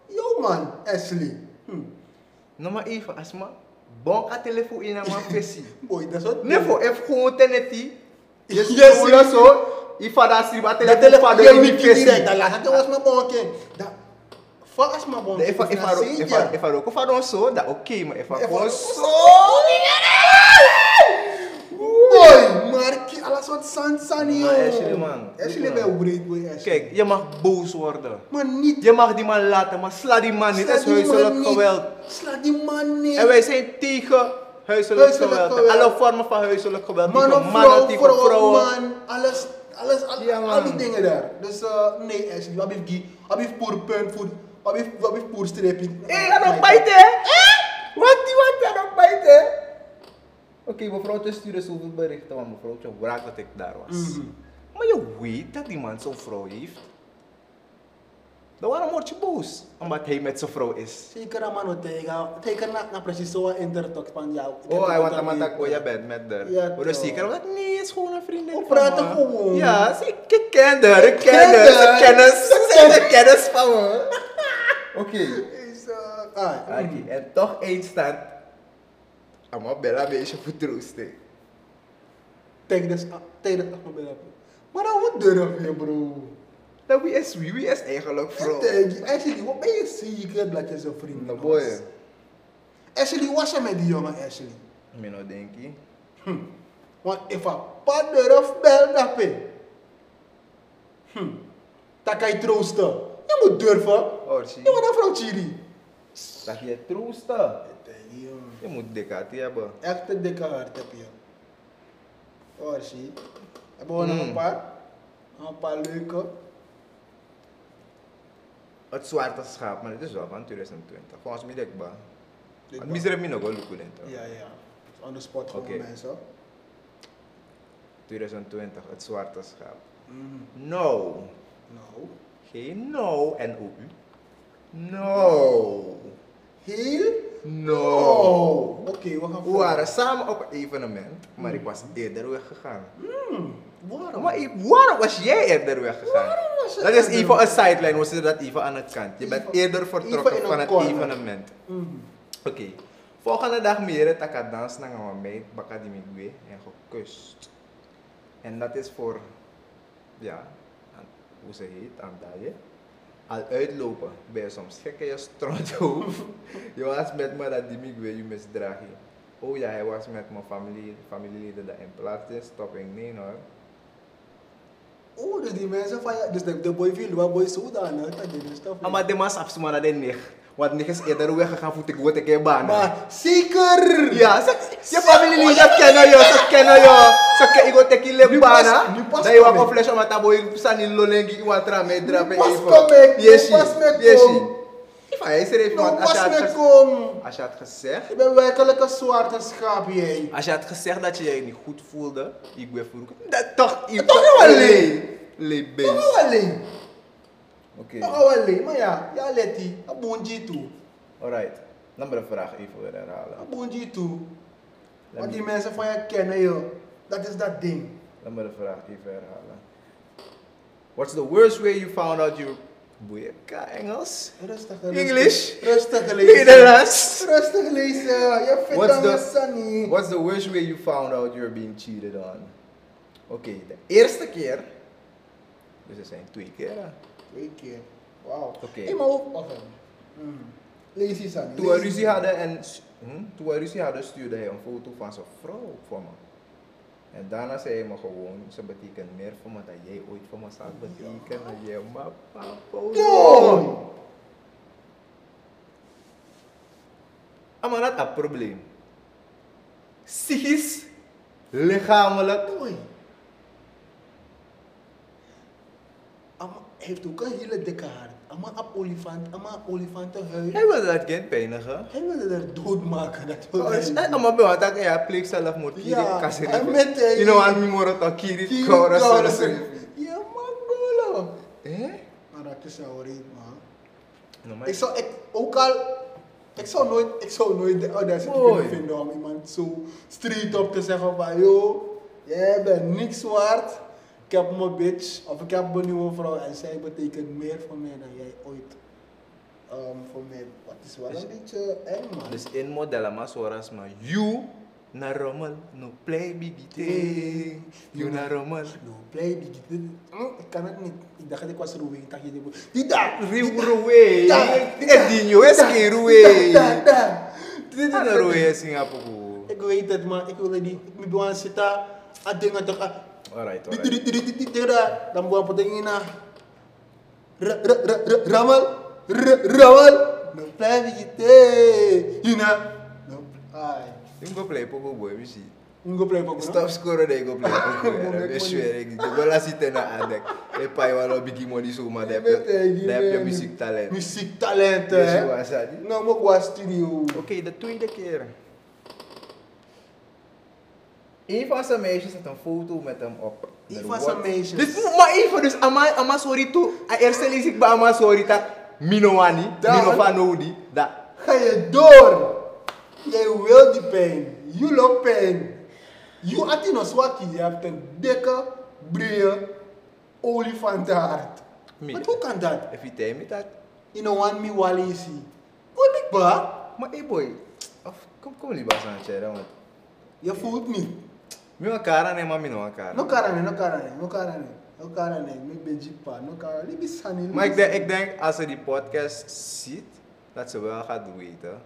Speaker 2: Yo, man. Ashley. Hm.
Speaker 1: Nou, maar even, als maar, bonk haar bon telefoon in aan mijn fessie.
Speaker 2: Boy, dat is wat...
Speaker 1: Nee, voor even gewoon teneti. Je
Speaker 2: Yes,
Speaker 1: stuurt
Speaker 2: yes.
Speaker 4: oh.
Speaker 1: zo, je vader stuurt haar
Speaker 2: Dat
Speaker 1: telefoon
Speaker 2: telefoon
Speaker 1: vader
Speaker 2: je
Speaker 1: in die
Speaker 2: niet direct.
Speaker 1: fessie.
Speaker 2: Dat laatste was mijn bonken. Dat... Vast mijn bonken.
Speaker 1: If I if I
Speaker 2: Dat
Speaker 1: if I if I rock off on so that okay, maar if I
Speaker 2: If I rock
Speaker 1: go
Speaker 2: off
Speaker 1: so
Speaker 2: Boy, maar ki- alles wat zand zand joh.
Speaker 4: Maar Ashley, man.
Speaker 2: Ashley é
Speaker 4: Weet je
Speaker 2: bij
Speaker 4: nou.
Speaker 2: breed boy Ashley.
Speaker 1: Kijk, je mag boos worden.
Speaker 4: é-
Speaker 2: Maar niet.
Speaker 1: Je mag die man laten, maar sla die man niet.
Speaker 2: Sla
Speaker 1: Dat is
Speaker 2: die man
Speaker 1: huiselijk
Speaker 2: niet.
Speaker 1: geweld.
Speaker 2: Sla die man niet.
Speaker 1: En wij zijn tegen huiselijk,
Speaker 2: Huiselijk
Speaker 1: geweld.
Speaker 2: geweld.
Speaker 1: Alle vormen van huiselijk geweld.
Speaker 2: Man
Speaker 1: tegen
Speaker 2: of vrouw,
Speaker 1: tegen
Speaker 2: vrouw of
Speaker 1: vrouwen.
Speaker 2: man, alles, alles, al,
Speaker 1: Ja,
Speaker 2: al
Speaker 1: man.
Speaker 2: die dingen daar. Dus eh, nee Ashley, wat heeft die, wat heeft poer punt voor, wat heeft, wat heeft poer streepje.
Speaker 1: Eh,
Speaker 4: Hé, ga nog bijten, hè? Wat die wat, ga nog bijten, hè? Oké, mevrouwtje stuurde zoveel berichten, want mevrouwtje wraak dat ik daar was.
Speaker 2: Mhm.
Speaker 1: Maar je weet dat die man zo'n vrouw heeft. Dan waarom word je boos? Omdat hij met zijn vrouw is.
Speaker 2: Zeker aan man wat tegen, tegen na, na precies zo'n intertox van jou. Ik heb
Speaker 1: Oh, hij
Speaker 2: het
Speaker 1: want
Speaker 2: ook
Speaker 1: hem
Speaker 2: aan
Speaker 1: aan
Speaker 2: die-
Speaker 1: dat je bent met haar.
Speaker 2: Ja,
Speaker 1: maar
Speaker 2: toch.
Speaker 1: dus zeker, want nee, is gewoon een vriendin.
Speaker 2: Oh,
Speaker 1: van
Speaker 2: praat
Speaker 1: me.
Speaker 2: gewoon.
Speaker 1: Ja, ze- ik ik ken haar, ik ken
Speaker 2: ken
Speaker 1: haar. Ze
Speaker 2: haar.
Speaker 1: kennen- Ze zijn de kennis van me.
Speaker 4: Oké,
Speaker 2: Is, eh, ah,
Speaker 4: Aki, en toch één stand.
Speaker 1: Amma bella beestje voor troosten.
Speaker 2: Tegen de s- tegen de afgelopen. Maar dan wat durf je bro?
Speaker 1: Dat wie is wie? Wie is eigenlijk vrouw?
Speaker 2: Tegen Ashley, wat ben je zeker dat je zo'n vriend
Speaker 4: Nou,
Speaker 2: was?
Speaker 4: boy.
Speaker 2: Ashley, was je met die jongen Ashley?
Speaker 4: Ik nou denk je.
Speaker 2: Want if a pad durf bel dat je. Hm. Dan kan je troosten. Je moet durven.
Speaker 1: Orsi.
Speaker 2: Je wordt een vrouw chiri.
Speaker 4: Dat je troosten.
Speaker 2: Tegen jongen.
Speaker 1: Je moet dekati hebben.
Speaker 2: Echt een dikke hart heb je. Hoor, zie. Hebben we nog
Speaker 1: Mm.
Speaker 2: een paar? Nog Een paar leuke.
Speaker 1: Het zwarte schaap, maar het is wel van 2020. Volgens mij dekba.
Speaker 2: Dit
Speaker 1: Het
Speaker 2: mag.
Speaker 1: misere mi nog wel lukken in toch?
Speaker 2: Ja, ja. On the spot gewoon
Speaker 1: Oké.
Speaker 2: mensen.
Speaker 1: 2020, het zwarte schaap. Hmm.
Speaker 2: Mhm.
Speaker 1: No.
Speaker 2: Nou.
Speaker 1: Geen no nou en Nou, o u. No.
Speaker 2: Heel?
Speaker 1: No.
Speaker 2: Oh. Oké, we gaan
Speaker 1: nou. We waren samen op een evenement, maar ik was eerder weggegaan.
Speaker 2: Hmm, Waarom?
Speaker 1: Maar ik- waarom was jij eerder weggegaan?
Speaker 2: Waarom was je
Speaker 1: dat is E
Speaker 2: eerder
Speaker 1: even een sideline, we zitten dat even aan het kant. Je bent
Speaker 2: Even-
Speaker 1: eerder vertrokken
Speaker 2: even in een
Speaker 1: van het
Speaker 2: corner.
Speaker 1: evenement.
Speaker 2: Mhm.
Speaker 1: Oké. Volgende dag meer taka dans na nga meid baka di migwe en gekust. En dat is ya, voor ja, aan- hoe ze heet, aan dat je. Al uitlopen ben je soms gek in je strothoofd. je was met me dat die migwe je misdraag je. Oh ja, hij was met mijn familie, familieleden dat in plaats is, stopping nee hoor.
Speaker 2: Oh, dus die mensen van ja, dus de, de boy viel, wat boy zo dan, hè, dat dit is toch.
Speaker 1: Ah, Maar de man saps man dat hij niet. Want niet is eerder weggegaan voor te goed te baan.
Speaker 2: Maar zeker!
Speaker 4: Ya,
Speaker 1: Ja, ze, je familie dat kennen joh, ze kennen joh. Ze kennen ik ook tekile
Speaker 2: Nu
Speaker 1: bana.
Speaker 2: pas- nu pas
Speaker 1: Dat je wat
Speaker 2: komen.
Speaker 1: een flesje met dat boy staan in lolengi, je wat ramen drapen.
Speaker 2: Nu pas komen, nu pas met komen.
Speaker 1: Hij schreef
Speaker 2: Nou,
Speaker 1: want als je
Speaker 2: was
Speaker 1: had
Speaker 2: me
Speaker 1: gez-
Speaker 2: kom!
Speaker 1: als je had gezegd,
Speaker 2: Je bent werkelijk een zwarte schaap, jij.
Speaker 1: als je had gezegd dat je je niet goed voelde, ik ben vroeg. Dat toch ik
Speaker 2: Toch wel,
Speaker 1: Lee. Lee
Speaker 2: Nog
Speaker 1: beest.
Speaker 2: alleen.
Speaker 4: Oké,
Speaker 2: Nog alleen. Maar ja, ja, let die. Een boentje toe.
Speaker 4: alright. Nummer een vraag even weer herhalen.
Speaker 2: Een boentje toe. Want die
Speaker 4: me-
Speaker 2: mensen van je kennen, joh. Dat is dat ding.
Speaker 4: Nummer een vraag even herhalen.
Speaker 1: What's the worst way you found out you... Boeie, ka Engels?
Speaker 2: Rustig, rustig.
Speaker 1: English?
Speaker 2: Rustig lezen.
Speaker 1: Nederlands?
Speaker 2: Rustig lezen. Je vindt
Speaker 4: What's
Speaker 2: dan
Speaker 4: the-
Speaker 2: weer Sunny.
Speaker 4: What's the worst way you found out you're being cheated on? Oké, de eerste keer.
Speaker 1: Dus er zijn twee keer. hè.
Speaker 2: Twee keer. Wauw.
Speaker 4: Oké.
Speaker 2: Hey, maar ook af. Mm. Lazy Sunny.
Speaker 4: Toen we
Speaker 2: lazy.
Speaker 4: ruzie hadden en hm, toen we ruzie hadden stuurde hij een foto van zijn vrouw voor me. En daarna zei hij me gewoon, ze betekent meer voor me dan jij ooit voor me zou betekenen. Je maar papa.
Speaker 2: Yo!
Speaker 1: Ah, maar dat is een probleem. Psychisch, lichamelijk.
Speaker 2: Oei. Amma heeft ook een hele dikke hart. Amma op olifant, amma olifantenhuid.
Speaker 1: Hij wilde dat kind pijnigen.
Speaker 2: Hij wilde haar doodmaken. Dat wilde
Speaker 1: Oh,
Speaker 2: hij
Speaker 1: is-
Speaker 2: doen.
Speaker 1: eh, Maar bij wat ik ja, pleeg zelf moet kiri
Speaker 2: Ja,
Speaker 1: kasiri.
Speaker 2: en met, eh,
Speaker 1: You know what I mean, more to kiri
Speaker 2: Kiri,
Speaker 1: kaura
Speaker 2: kaura,
Speaker 1: sorry.
Speaker 2: Ja, man, golo.
Speaker 1: Eh?
Speaker 2: Maar dat is jouw reet, man.
Speaker 1: Nou, maar-
Speaker 2: Ik zou, ik, ook al, ik zou nooit, ik zou nooit de audacity
Speaker 4: Mooi.
Speaker 2: kunnen vinden om iemand zo street op te zeggen van, yo, jij bent niks waard. Ik heb mijn bitch, of ik heb mijn nieuwe vrouw en zij betekent meer voor mij dan jij ooit. ehm, voor mij, wat is wel
Speaker 1: Dus-
Speaker 2: een beetje eng, man.
Speaker 1: Dus in model maar zoals maar you na rommel no play biggie thing. You na rommel.
Speaker 2: No, play big. Ik kan het niet. Ik dacht dat ik was Ruwing. dacht je dit moet- Die daar!
Speaker 1: Riu ruwe.
Speaker 2: Ja.
Speaker 1: Eh dinyo es ki
Speaker 2: Daar,
Speaker 1: ruwe.
Speaker 2: daar, daar. Dit is
Speaker 1: Ana
Speaker 2: het.
Speaker 1: ruwe Singapore.
Speaker 2: Ik weet het, maar ik wilde die. Ik moet gewoon zitten. ah, ding, at saka,
Speaker 1: Alright,
Speaker 2: dit,
Speaker 1: alright.
Speaker 2: dit, dit, dit, dit, dit, da. Dan buwan po tingin na, ra, ra, ra, ra, ramal, ra, ramal, no plan kita, yun na, no, ay,
Speaker 1: Yung go play po ko boy, we see.
Speaker 2: yung go play po ko, no?
Speaker 1: Stop score na go play po ko.
Speaker 2: Muna
Speaker 1: Be
Speaker 2: ko
Speaker 1: sure rin. Wala si Tena Adek. E pa wala bigi mo di suma dep. Dep yung music talent.
Speaker 2: eh, Music talent,
Speaker 1: Yes,
Speaker 2: eh.
Speaker 1: you are sad.
Speaker 2: No, magwa studio.
Speaker 1: Oké, de tweede keer. Een van zijn meisjes had een foto met hem op.
Speaker 2: Een
Speaker 1: Er
Speaker 2: van
Speaker 1: wordt-
Speaker 2: zijn meisjes.
Speaker 1: Dit moet maar even, dus ama, ama sorry toe. A eerste lees ik bij ama sorry dat minowani,
Speaker 2: Daar.
Speaker 1: minovanodi, dat.
Speaker 2: Ga je door. Jij wil die pijn. You love pijn. You atin ons wakkie. Je hebt een dikke, brede olifantenhart.
Speaker 1: Mie.
Speaker 2: Maar hoe kan dat?
Speaker 1: If you tell me dat.
Speaker 2: You know, want me wally see. Kon ik ba?
Speaker 1: Maar hey eh, boy, of, kom kom liever aan het zeggen, want.
Speaker 2: Je voelt niet.
Speaker 1: Mijn kara nee, maar mijn kara.
Speaker 2: No karane, no karane, no karane. No karane, me beji pa. No karane, libi sani.
Speaker 1: Maar ik denk, ik denk, als ze die podcast ziet, dat ze wel gaat weten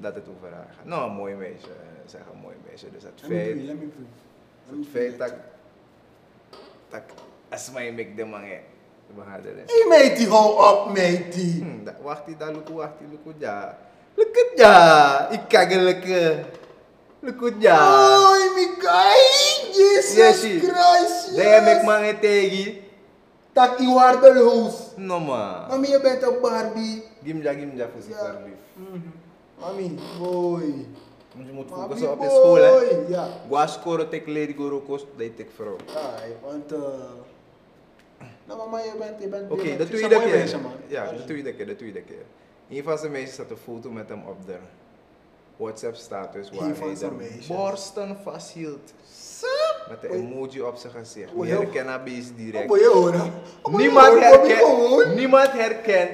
Speaker 1: dat het over haar gaat. Nou, een mooi meisje. eh, Zeg een mooi meisje. Dus het
Speaker 2: Let me
Speaker 1: feit
Speaker 2: pray, let me pray. Let me
Speaker 1: Het
Speaker 2: pray.
Speaker 1: feit dat, dat als mij mik de mange behandelen.
Speaker 2: Hey matey, hou op matey.
Speaker 1: Hmm, dat wacht ik, dat luku wacht ik, luku ja. Luku ja, ik kage luku. Luku ja.
Speaker 2: Oy, mi guy! Oh, Jesus
Speaker 1: Yeshi.
Speaker 2: Christ!
Speaker 1: Daar heb ik mange tegen.
Speaker 2: Tak iwardeloos.
Speaker 1: No man.
Speaker 2: Mami, je bent een Barbie. Mm-hmm.
Speaker 1: Gimja, gimja voor zich daar lief.
Speaker 2: Mami, boy.
Speaker 1: Want je moet
Speaker 2: Mami,
Speaker 1: focussen op je school eh? hè.
Speaker 2: boy. Ya. Ja.
Speaker 1: Gwa score tek lady goro kost, dat tek vrouw.
Speaker 2: Ai, want... eh, Nou, mama, je bent... je bent-
Speaker 1: Oké,
Speaker 2: je bent-
Speaker 1: de
Speaker 2: het is een
Speaker 1: tweede
Speaker 2: mooi
Speaker 1: keer.
Speaker 2: meisje, man.
Speaker 1: Ja, de tweede keer, de tweede keer. Een van zijn meisjes had een foto met hem op de WhatsApp-status waar
Speaker 2: Een van
Speaker 1: hij
Speaker 2: zijn
Speaker 1: de
Speaker 2: meisjes.
Speaker 1: borsten vasthield. Met een
Speaker 2: Oei.
Speaker 1: emoji op zijn gezicht.
Speaker 2: Oei,
Speaker 1: We
Speaker 2: heel-
Speaker 1: herkennen beest
Speaker 2: Oh,
Speaker 1: direct.
Speaker 2: boy, je horen. Oh, boy, je
Speaker 1: Niemand
Speaker 2: horen, boy, je
Speaker 1: herkent,
Speaker 2: horen.
Speaker 1: niemand herkent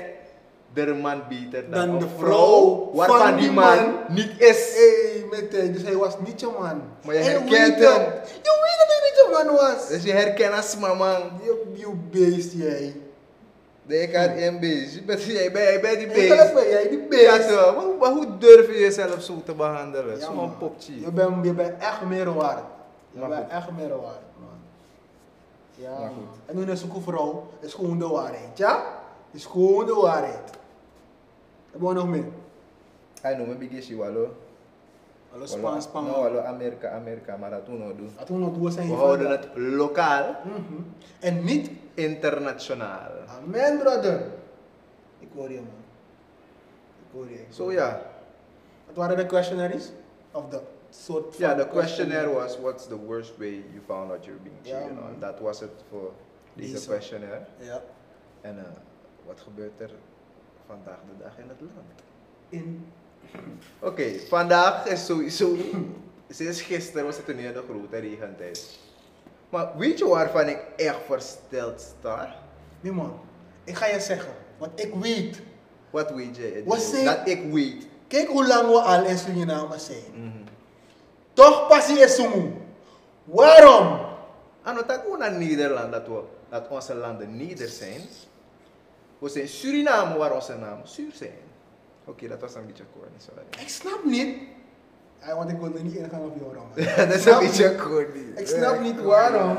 Speaker 1: de man beter dan,
Speaker 2: Dan
Speaker 1: een
Speaker 2: de
Speaker 1: vrouw
Speaker 2: vrouw van
Speaker 1: waarvan die
Speaker 2: die
Speaker 1: man
Speaker 2: man.
Speaker 1: niet is.
Speaker 2: Hey, meteen, dus hij was niet je man.
Speaker 1: Maar je
Speaker 2: Hey,
Speaker 1: herkent
Speaker 2: weet
Speaker 1: hem.
Speaker 2: het. Je weet dat hij niet je man was.
Speaker 1: Dus je herkent als mama.
Speaker 2: Je, je beest, jij.
Speaker 1: Je
Speaker 2: Hmm.
Speaker 1: kan één beest. Je bent- Jij bent jij bent die
Speaker 2: Hey, geloof
Speaker 1: beest.
Speaker 2: me, jij die
Speaker 1: Ja,
Speaker 2: beest.
Speaker 1: toch? Maar hoe- Maar hoe durf je jezelf zo te behandelen?
Speaker 2: Ja,
Speaker 1: Zo'n
Speaker 2: man.
Speaker 1: popje.
Speaker 2: Je bent je bent echt meer waard. Je
Speaker 1: Maar
Speaker 2: bent
Speaker 1: goed.
Speaker 2: echt meer waard, man. Ja,
Speaker 1: Maar
Speaker 2: man.
Speaker 1: goed.
Speaker 2: En nu is ook een vrouw, is gewoon de waarheid, ja? Is gewoon de waarheid. Hebben we nog meer?
Speaker 1: Ay no, maybe guess you walo.
Speaker 2: Alle
Speaker 1: walo-
Speaker 2: Spaans, Spaans.
Speaker 1: No, walo Amerika, Amerika, maar dat doen we doen.
Speaker 2: Laten we nog door zijn
Speaker 1: Nou, We
Speaker 2: hier
Speaker 1: houden
Speaker 2: vandaag.
Speaker 1: het lokaal,
Speaker 2: Mhm. En niet,
Speaker 1: internationaal.
Speaker 2: amen, brother. Ik hoor je, man. Ik hoor je. ik
Speaker 1: Zo
Speaker 2: hoor je.
Speaker 1: ja,
Speaker 2: Wat waren de questionnaires? Of de soort van
Speaker 1: ja, de questionnaire was what's the worst way you found out you're being
Speaker 2: Ja,
Speaker 1: cheated
Speaker 2: man.
Speaker 1: on. Dat was het voor deze
Speaker 2: Deze.
Speaker 1: questionnaire.
Speaker 2: Ja.
Speaker 1: En eh, wat gebeurt er vandaag de dag in het land?
Speaker 2: In,
Speaker 1: Oké, vandaag is sowieso, sinds gisteren was het een hele grote regentijd. Maar weet je waarvan ik echt versteld sta?
Speaker 2: nee, man. Ik ga je zeggen, want ik weet.
Speaker 1: Wat weet je?
Speaker 2: Wat zei-
Speaker 1: Dat ik weet.
Speaker 2: Kijk hoe lang we al in Suriname zijn.
Speaker 1: Mhm.
Speaker 2: Toch pas je sumu. Waarom?
Speaker 1: Ano tak ook naar Nederland dat, we, dat onze landen neder zijn. We zijn Suriname waar onze namen zuur zijn. Oké, dat was een beetje corny, sorry.
Speaker 2: Ik snap niet. Ay, want nou ik wil er niet ingaan op jou, Rama.
Speaker 1: dat is een beetje corny.
Speaker 2: Ik snap niet waarom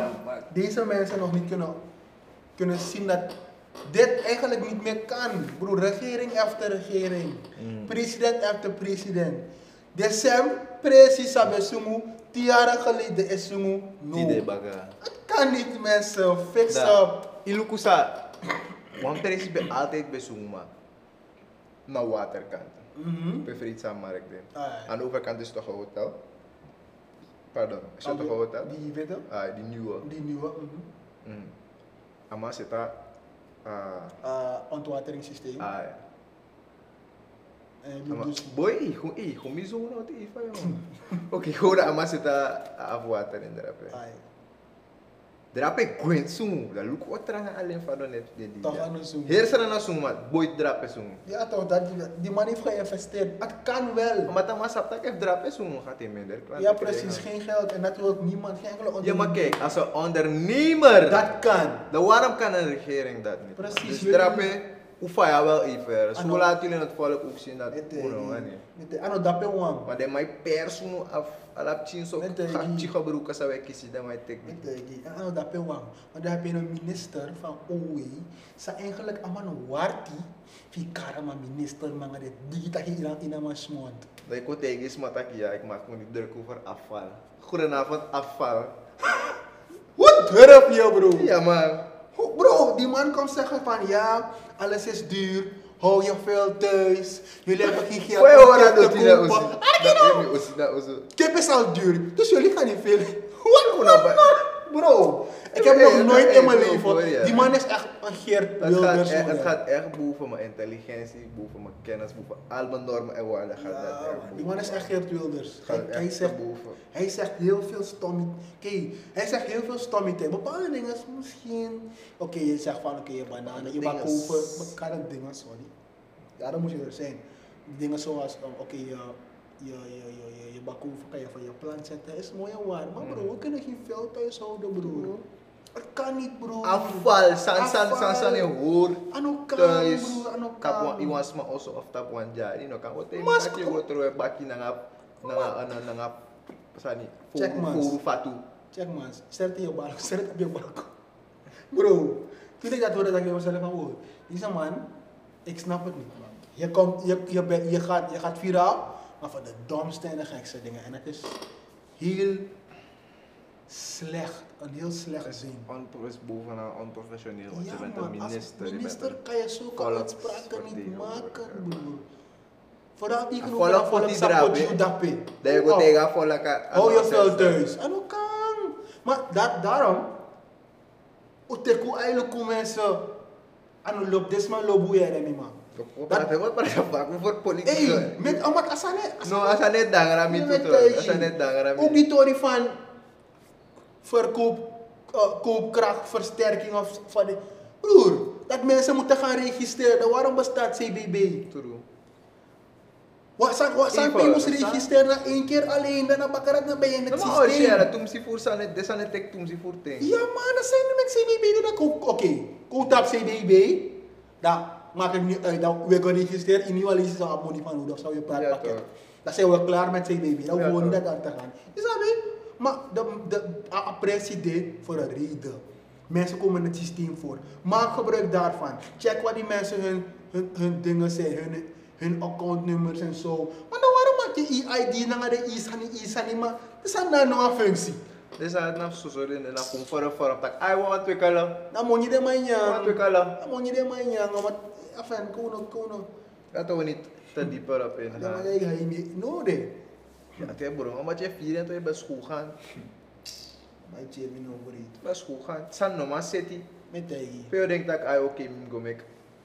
Speaker 2: deze mensen nog niet kunnen, kunnen zien dat dit eigenlijk niet meer kan. Broer, regering after regering.
Speaker 1: Mm.
Speaker 2: President after president. December, precies hebben sumu. Tien jaar geleden is sumu.
Speaker 1: Die
Speaker 2: No.
Speaker 1: de baga.
Speaker 2: Het kan niet, mensen. Fix up.
Speaker 1: Ilukusa. Want er is bij- altijd bezongen. Naar waterkant.
Speaker 2: Mhm.
Speaker 1: Preferit aan Markt.
Speaker 2: Ah,
Speaker 1: Aan de overkant is toch een hotel? Pardon, is dat toch een hotel?
Speaker 2: Die weet je?
Speaker 1: Ah, die nieuwe.
Speaker 2: Die nieuwe. mhm.
Speaker 1: Mm. Amma zit daar. Ah,
Speaker 2: uh, ontwateringssysteem.
Speaker 1: ah, ja.
Speaker 2: En je
Speaker 1: Ama,
Speaker 2: dus
Speaker 1: boy, kung eh, kung miso ko na ito, ifa yun. okay, kung na ama sita aabuatan ng darape.
Speaker 2: ay,
Speaker 1: Darape gwent sung, lalu ko otra nga alin fa doon net de
Speaker 2: toch aan ons doen.
Speaker 1: Hier sa na sumat, boy drape sung.
Speaker 2: Ja toch, dat, die- die man heeft geïnvesteerd. Het kan wel.
Speaker 1: Mata masapta kef drape sung gaat in minder klant.
Speaker 2: Ja precies, geen geld en dat wil niemand, geen enkele
Speaker 1: Ja, maar
Speaker 2: ondernemer.
Speaker 1: kijk, als een ondernemer,
Speaker 2: Dat kan.
Speaker 1: dan waarom kan een regering dat niet?
Speaker 2: Precies,
Speaker 1: Dus
Speaker 2: weet je
Speaker 1: drape,
Speaker 2: niet.
Speaker 1: Oefa ja wel even. Zo
Speaker 2: Ano?
Speaker 1: laat jullie het volk ook zien dat
Speaker 2: Ete,
Speaker 1: Uno, man. eh.
Speaker 2: ete, ano, dape wang.
Speaker 1: Maar de mij persoon af, alap tien zo,
Speaker 2: Ete,
Speaker 1: gaat
Speaker 2: die-
Speaker 1: chica broeken, zou ik kiezen, dan mij tek.
Speaker 2: Ete, gi- ano, dape wang. Maar daar heb je een minister van OE. Sa eigenlijk aman warti. Fi karma minister mga de digita hi ilang inaman smond.
Speaker 1: Dat ik ook tegen is, maar dat ik, ja, ik maak me niet druk over afval. Goedenavond, afval.
Speaker 2: Wat durf je bro?
Speaker 1: Ja, man.
Speaker 2: Ho- Bro, die man komt zeggen van ja, alles is duur. Hou je veel thuis. Jullie hebben geen geld
Speaker 1: Hoe je hoort dat
Speaker 2: om
Speaker 1: doet
Speaker 2: te
Speaker 1: hij dat
Speaker 2: kopen.
Speaker 1: ook
Speaker 2: Ah,
Speaker 1: zo? Dat weet ik ook zo, dat ook zo.
Speaker 2: Kip is al duur, dus jullie gaan niet veel. Wat
Speaker 1: Hoe nou bij-
Speaker 2: Bro, ik heb
Speaker 1: Hey,
Speaker 2: nog nooit
Speaker 1: hey,
Speaker 2: in mijn
Speaker 1: bro, hoor je.
Speaker 2: leven. Die man is echt een Geert
Speaker 1: Het gaat,
Speaker 2: Wilders.
Speaker 1: echt, het
Speaker 2: man.
Speaker 1: gaat echt boven mijn intelligentie, boven mijn kennis, boven al mijn normen en waarden. Gaat dat er
Speaker 2: Ja,
Speaker 1: echt
Speaker 2: man, die
Speaker 1: boven,
Speaker 2: man is echt Geert Wilders.
Speaker 1: Gaat
Speaker 2: Hij,
Speaker 1: echt
Speaker 2: hij, zegt,
Speaker 1: boven.
Speaker 2: hij zegt heel veel stomme Kijk, hij zegt heel veel stomme dingen. Bepaalde dingen is misschien. Oké, je zegt van oké, je bananen, je
Speaker 1: Dingen.
Speaker 2: bakoven. Bepaalde dingen, sorry. Ja, dan moet je er zijn. Dingen zoals, um, oké, je, je, je, je, je, je bakoven kan je van je plant zetten. Is mooi en waar. Maar
Speaker 1: Hmm.
Speaker 2: bro, we kunnen geen veld thuis houden, bro. Het kan niet, bro.
Speaker 1: Afval, san san san san je
Speaker 2: Afval.
Speaker 1: hoor.
Speaker 2: Aan elkaar,
Speaker 1: Thuis,
Speaker 2: bro, aan
Speaker 1: tap
Speaker 2: elkaar.
Speaker 1: one, iwan sma also of tap one jar. You know, kan wat even
Speaker 2: Mas-
Speaker 1: dat je wordt terug baki na ngap, na nga, ano, na ngap, sani,
Speaker 2: Check mas.
Speaker 1: furu fatu.
Speaker 2: Check man, zet in je balk, zet op je balk. Bro, toen ik dat hoorde, dacht ik bij mezelf van, oh, deze man, ik snap het niet man. Je, komt, je, je, bent- je, gaat, je gaat viraal, maar van de domste en de gekste dingen. En dat is heel slecht, een heel slecht zin.
Speaker 1: Onpros bovenaan onprofessioneel, want
Speaker 2: Ja
Speaker 1: je bent
Speaker 2: man,
Speaker 1: een minister.
Speaker 2: als
Speaker 1: je bent
Speaker 2: minister
Speaker 1: een-
Speaker 2: kan je zulke
Speaker 1: volks-
Speaker 2: uitspraken niet
Speaker 1: vertegenwoordiger,
Speaker 2: maken,
Speaker 1: man.
Speaker 2: broer. Vooral die
Speaker 1: Een
Speaker 2: genoeg van
Speaker 1: volk
Speaker 2: volk
Speaker 1: moet die drapen,
Speaker 2: support you
Speaker 1: hè?
Speaker 2: dappie.
Speaker 1: Dat je
Speaker 2: Kom
Speaker 1: wordt
Speaker 2: op.
Speaker 1: tegen voor lekker.
Speaker 2: Hou je veel thuis. En hoe kan? Maar dat, daarom, Uteku eigenlijk hoe mensen aan de loop, dit man loop hoe jij er niet man.
Speaker 1: Wat praat je wat praat je vaak over politiek?
Speaker 2: Hey,
Speaker 1: hoor.
Speaker 2: Eh, met amat asane,
Speaker 1: No, als je net dangram in doet, hoor. als je net dangram
Speaker 2: Ook
Speaker 1: in
Speaker 2: die tory van verkoop, eh, koopkrachtversterking of van die. Broer, dat mensen moeten gaan registreren. Waarom bestaat CBB?
Speaker 1: doet.
Speaker 2: Wat zijn, wat zijn,
Speaker 1: Even,
Speaker 2: je moest
Speaker 1: wat zijn-
Speaker 2: registreren één keer alleen, daarna bakarat, dan ben je in het
Speaker 1: Maar als je
Speaker 2: systeem.
Speaker 1: er tumsi voor zal net, dit zal net ik tumsi voor tegen.
Speaker 2: Ja man, dat zijn de met CBB die dat ook. Oké, komt op CBB. Dat maakt het niet uit. Dat we gaan registreren in nieuwe licentie op money van Rudolf. Zou je praten
Speaker 1: Ja,
Speaker 2: pakket.
Speaker 1: toch.
Speaker 2: Dan zijn we klaar met CBB. Dan
Speaker 1: Ja,
Speaker 2: hoeven we
Speaker 1: toch.
Speaker 2: niet dat aan te gaan. Je snapt me? Maar de, de a- a- president voor een reden. Mensen komen in het systeem voor. Maak gebruik daarvan. Check wat die mensen hun, hun, hun dingen zijn, hun, hun accountnummers en zo. Maar dan waarom maak je EID naar de ISANI, ISANI, maar dat is een andere functie.
Speaker 1: Dit zal het naar Sosori en naar Kumfara Fara pak. Ai, wat wat we kallen.
Speaker 2: Dan moet je de man
Speaker 1: Wat we kallen.
Speaker 2: Dan moet je de man jangen, want afijn, kono, kono.
Speaker 1: Dat we niet te dieper op
Speaker 2: Dan moet
Speaker 1: ingaan.
Speaker 2: je je niet nodig.
Speaker 1: Ja, het is broer, omdat je vier en toen je bent school gaan.
Speaker 2: Maar je hebt me nog bereid.
Speaker 1: Bent school gaan. Het zijn normaal city.
Speaker 2: Met je.
Speaker 1: Veel denkt dat ik, ah, oké, ik ga met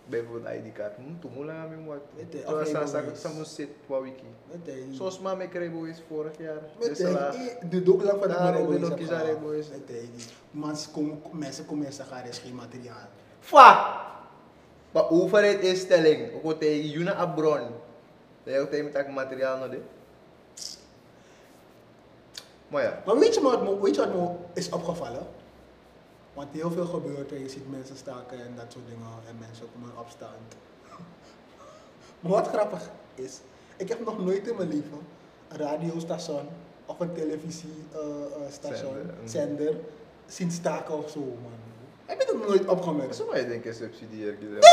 Speaker 1: bijvoorbeeld ID kaart. Hm, toen moet ik aan mijn wat.
Speaker 2: Met de
Speaker 1: Toen was
Speaker 2: afleidingsboys.
Speaker 1: ik samen zit, wat wiki.
Speaker 2: Met je.
Speaker 1: Zoals mama kreeg boys vorig jaar.
Speaker 2: Met
Speaker 1: Dus la-
Speaker 2: je. De doek lang van de
Speaker 1: Daarom
Speaker 2: Marebo
Speaker 1: wil
Speaker 2: is
Speaker 1: ik kiezen
Speaker 2: opgehaald.
Speaker 1: Marebo is.
Speaker 2: Met je. Mensen komen- Mensen komen en zeggen, er is geen materiaal.
Speaker 1: Fa! Maar overheid is stelling. Ook wat tegen Juna Abron. Dat je ook tegen met materiaal nodig. Maar ja.
Speaker 2: Maar weet je wat me, weet je wat me is opgevallen? Want heel veel gebeurt en je ziet mensen staken en dat soort dingen en mensen komen in opstand. maar wat grappig is, ik heb nog nooit in mijn leven een radiostation of een televisiestation,
Speaker 1: Zender, mhm.
Speaker 2: zender, zien staken of zo man. Heb je dat nooit opgemerkt?
Speaker 1: Zo maar je denken subsidieer.
Speaker 2: Dat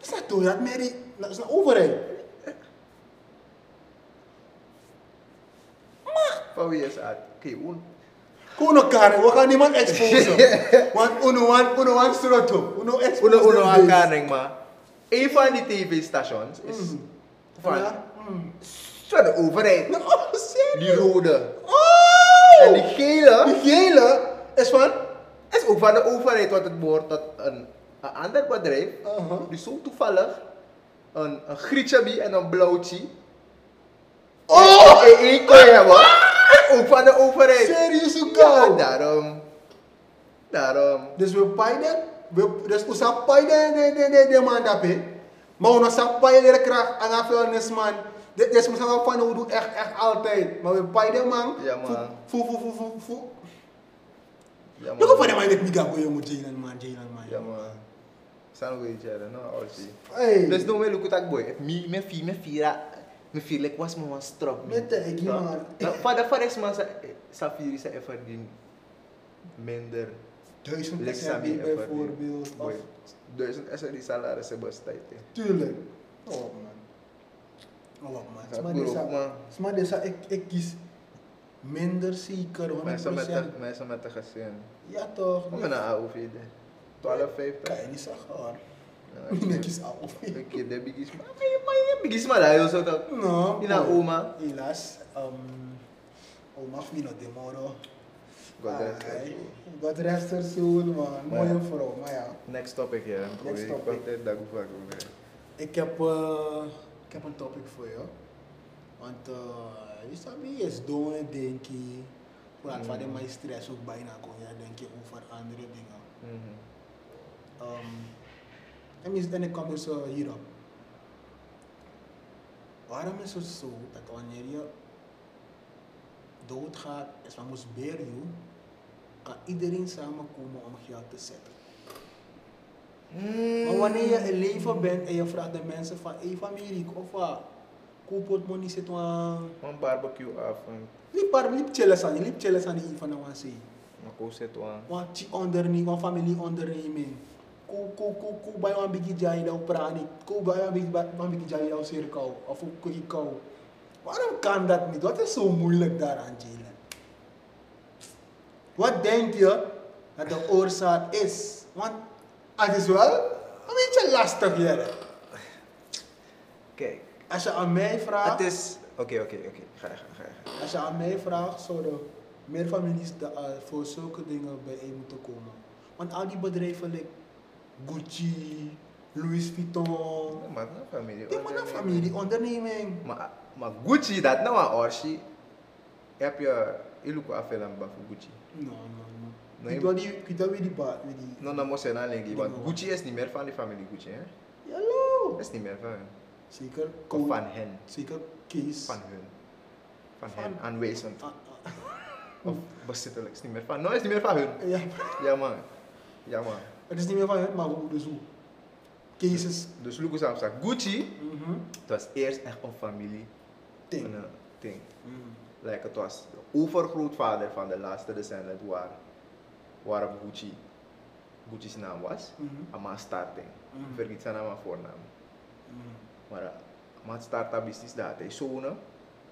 Speaker 2: is dat toch, dat Mary, dat is een overheid.
Speaker 1: Van wie is dat? Oké, un.
Speaker 2: Kom elkaar, we gaan niemand exposen. Want uno one, uno one strot op. Uno dus. expose
Speaker 1: Uno uno
Speaker 2: them
Speaker 1: aan
Speaker 2: this.
Speaker 1: karing maar. Een van die tv-stations is
Speaker 2: Mhm.
Speaker 1: van
Speaker 2: Ja. Mm.
Speaker 1: zo de overheid.
Speaker 2: Oh,
Speaker 1: Die
Speaker 2: serieus?
Speaker 1: rode.
Speaker 2: Oh!
Speaker 1: En die gele
Speaker 2: Die gele is van...
Speaker 1: is ook van de overheid. Want het behoort tot een, een ander bedrijf.
Speaker 2: Uh-huh.
Speaker 1: Die zo toevallig een, een grietje en een blauwtje.
Speaker 2: Oh!
Speaker 1: in één kooi hebben. Ook van de overheid.
Speaker 2: Serieus, hoe
Speaker 1: Ja,
Speaker 2: kan
Speaker 1: daarom. Daarom.
Speaker 2: Dus we paaien... we- Dus we zijn paaien de, de, de, de man dat hè. Maar we zijn paaien de kracht aan de vuilnisman. Dit is misschien wel van hoe we doen echt, echt altijd. Maar we paaien de man.
Speaker 1: Ja, man.
Speaker 2: Voe, voe, voe, voe, voe.
Speaker 1: Ja, man.
Speaker 2: Look op van de man met Miga Goyo moet Jalen man, Jalen man.
Speaker 1: Ja, nou man. Samen met each other, no? Alsi.
Speaker 2: Hey!
Speaker 1: Dus no me lukt ook boy. If Me, me fi, me fi ra. Me fi like was me wan strop me.
Speaker 2: Met de ik
Speaker 1: Ja.
Speaker 2: man.
Speaker 1: Nou, Vader, vader is man sa, eh, sa fi sa effort din. Minder.
Speaker 2: Duizend
Speaker 1: Like
Speaker 2: procent
Speaker 1: Sammy
Speaker 2: meer
Speaker 1: effort din.
Speaker 2: bijvoorbeeld. Of,
Speaker 1: Boy. Duizend SR die salaris hebben als tijd. eh.
Speaker 2: tuurlijk. Oh man. Oh man. Het is maar
Speaker 1: Goed
Speaker 2: deze-
Speaker 1: ook, man.
Speaker 2: het is maar deze- ik, ik kies minder zeker, 100%.
Speaker 1: Mensen met de- Mensen met de gezin.
Speaker 2: Ja toch?
Speaker 1: Kom maar naar AOV. de. 12,50.
Speaker 2: Kan je niet zeggen hoor.
Speaker 1: Ja,
Speaker 2: Ik
Speaker 1: ik-
Speaker 2: kies af.
Speaker 1: Oké, de biggest man. Maar je- maar je biggest man, hij was zo dat.
Speaker 2: No.
Speaker 1: Je naar
Speaker 2: boy.
Speaker 1: oma.
Speaker 2: Helaas. Um, oma Fino de Moro.
Speaker 1: God rest her
Speaker 2: Ai,
Speaker 1: soul.
Speaker 2: God rest her soul, man.
Speaker 1: Maar ja.
Speaker 2: Mooie vrouw, maar ja.
Speaker 1: Next topic, ja.
Speaker 2: Next
Speaker 1: Ik
Speaker 2: topic.
Speaker 1: pak dit dag vaak over.
Speaker 2: Ik heb, eh, ik heb een topic voor je. Want eh, je staat bij je is doen, en denk je. Voor
Speaker 1: Mm.
Speaker 2: het vader mijn stress ook bijna kon je denk je over andere dingen.
Speaker 1: Mhm.
Speaker 2: Ehm, en mis- en ik kom dus eh, hierop. Waarom is het zo dat wanneer je doodgaat, is van moest bergen, kan iedereen samenkomen om geld te zetten.
Speaker 1: Mm-hmm.
Speaker 2: Maar wanneer je in leven bent en je vraagt de mensen van, hey familie, of wat, koop het money zit aan.
Speaker 1: Een Mm-hmm. barbecue avond.
Speaker 2: Liep par, liep chillen aan, liep chillen aan die van de wansi.
Speaker 1: Een koos het aan.
Speaker 2: Want die onderneming, want familie onderneming. Ko, ko, ko, ko, bij een beetje jij nou praat Ko, bij een beetje- bij een beetje jij nou cirkel. Of ook kijk kou. Waarom kan dat niet? Wat is zo moeilijk daaraan, Jalen? Wat denk je dat de oorzaak is? Want het is wel een beetje lastig hier.
Speaker 1: Kijk,
Speaker 2: Als je aan mij vraagt...
Speaker 1: het is. Oké, oké, oké. Ga je, ga je, ga je.
Speaker 2: Als je aan mij vraagt, zouden meer families da- eh, voor zulke dingen bijeen moeten komen. Want al die bedrijven, like Gucci, Louis Vuitton,
Speaker 1: Maar een familie.
Speaker 2: die mannen familie, onderneming.
Speaker 1: Maar, maar Gucci, dat nou een orsi. Heb je. Je loopt af en aan voor Gucci.
Speaker 2: No, no, no.
Speaker 1: Nee.
Speaker 2: Ik wil die, ik wil die ba- weer die.
Speaker 1: Nou, dan moet je dan denken. Want
Speaker 2: Ja.
Speaker 1: Gucci is niet meer van die familie Gucci, hè?
Speaker 2: Hallo.
Speaker 1: Is niet meer van hen.
Speaker 2: Zeker
Speaker 1: Of
Speaker 2: Koen,
Speaker 1: van hen.
Speaker 2: zeker Kees.
Speaker 1: Van hun. Van
Speaker 2: Van-
Speaker 1: hen. Aanwezend.
Speaker 2: Ah, ah,
Speaker 1: Of bezittelijk. Is niet meer van. Nou, is niet meer van hun.
Speaker 2: ja,
Speaker 1: Ja, man. Ja, man.
Speaker 2: het is niet meer van hen, maar hoe dus hoe. Kees is.
Speaker 1: Dus Lucas aan zegt Gucci.
Speaker 2: Mhm.
Speaker 1: Het was eerst echt een familie.
Speaker 2: Ding.
Speaker 1: Een eh, ding.
Speaker 2: Mhm.
Speaker 1: Like, het was de overgrootvader van de laatste descendant waar, waarop Gucci, Gucci's naam was.
Speaker 2: Mhm.
Speaker 1: Ama starting.
Speaker 2: Mhm.
Speaker 1: Vergeet zijn naam en voornaam.
Speaker 2: Mhm.
Speaker 1: Maar eh, ama het starta business dat hij zonen.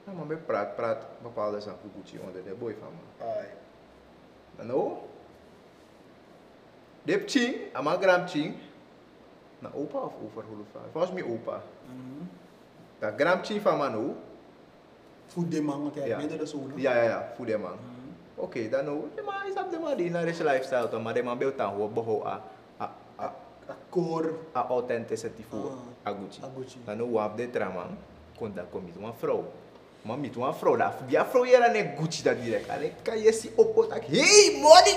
Speaker 1: Ja, maar met praat, praat bepaalde zaken voor Gucci onder de boy van me.
Speaker 2: Ai.
Speaker 1: En nou, de ching, ama gram ching. Na opa of overgrootvader? Volgens mij opa.
Speaker 2: Mhm.
Speaker 1: Dat gram ching van me nou.
Speaker 2: Voed de man, want hij
Speaker 1: Ja.
Speaker 2: heeft meerdere zonen.
Speaker 1: Ja, ja, ja, voel je man.
Speaker 2: Mhm.
Speaker 1: Oké, dan nou, de man is op de man die naar deze lifestyle toe, maar de man beeldt aan hoe behoud aan aan- aan-
Speaker 2: akkoord
Speaker 1: aan authenticity voor
Speaker 2: Ah.
Speaker 1: Aguchi.
Speaker 2: Aguchi.
Speaker 1: Dan nou, op de trama, kon dat kom met een vrouw. Maar met een vrouw, dat die vrouw hier aan een Gucci dat direct. Alleen kan je zien op wat hey money!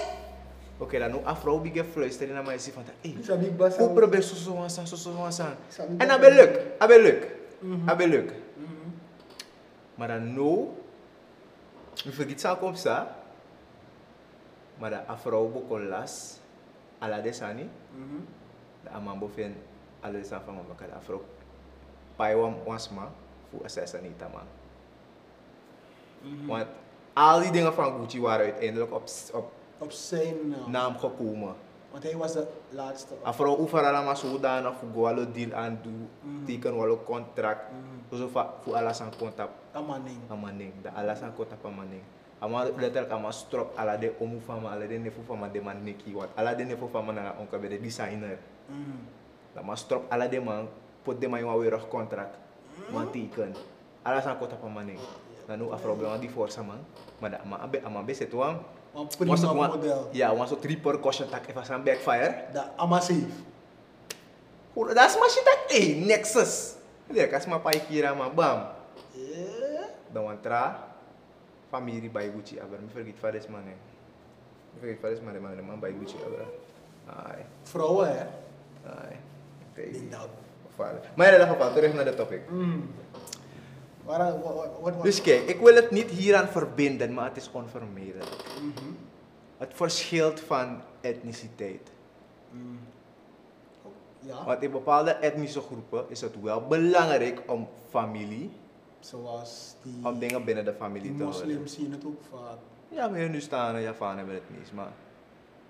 Speaker 1: Oké, dan nou, een vrouw begint fluisteren naar mij en zegt van, e hey,
Speaker 2: Is dat niet best?
Speaker 1: hoe probeer zo zo aan, zo zo aan, zo aan.
Speaker 2: Zou niet
Speaker 1: En dat
Speaker 2: best-
Speaker 1: ben leuk, dat ben leuk,
Speaker 2: Mhm.
Speaker 1: dat ben leuk.
Speaker 2: Mhm.
Speaker 1: Maar dan nou, ik vergeet zijn komst, hè. maar de afrouw begon las, ala desani,
Speaker 2: Mhm.
Speaker 1: de amambo vind ala desani van mama, de afrouw paiwam wasma, voor assassin niet man.
Speaker 2: Mhm.
Speaker 1: Want al die dingen van Gucci waren uiteindelijk op, s- op
Speaker 2: Op zijn naam.
Speaker 1: naam gekomen.
Speaker 2: Want hij was de laatste.
Speaker 1: Afrouw overal maar zodanig voor gwalo deal aan doen,
Speaker 2: Mhm.
Speaker 1: teken wel contract,
Speaker 2: Mhm.
Speaker 1: zo va- voor alles aan contact.
Speaker 2: Amaning.
Speaker 1: amaning da alasan kota pamaning ama letter kama strop ala de omu fama ala de nefu fama de man neki wat ala de nefu fama na onka be de designer Lah,
Speaker 2: Mhm.
Speaker 1: da ma strop ala de man pot de man wawe roh kontrak ma tiken alasan kota pamaning na nu afro be di ah, force man ma da ma abe ama be setuang
Speaker 2: Een prima model.
Speaker 1: ya waso three percussion tak eva san backfire
Speaker 2: De Amasafe.
Speaker 1: Hoe- das ma shit tak eh nexus dia kas ma pai kira ma bam
Speaker 2: Yeah.
Speaker 1: Dan want tra, familie bij Gucci aber. Me vergeet van deze man, eh. hè. Me vergeet van deze man, hè, man, de man bij Gucci aber. Ai,
Speaker 2: Vrouwen, hè?
Speaker 1: ai. Oké.
Speaker 2: Ding dat.
Speaker 1: Gevaarlijk. Maar in ieder geval, terug naar de topic.
Speaker 2: Mhm. Waar- wa- wa- Wat was
Speaker 1: Dus kijk, ik wil het niet hieraan verbinden, maar het is onvermijdelijk.
Speaker 2: Mhm. Mm-hmm.
Speaker 1: Het verschilt van etniciteit.
Speaker 2: Mhm. Ja.
Speaker 1: Want in bepaalde etnische groepen is het wel belangrijk om familie,
Speaker 2: Zoals die,
Speaker 1: om dingen binnen de
Speaker 2: die
Speaker 1: familie te houden.
Speaker 2: moslims zien het ook vaak.
Speaker 1: Ja, maar nu staan en Javaan hebben het niet, maar...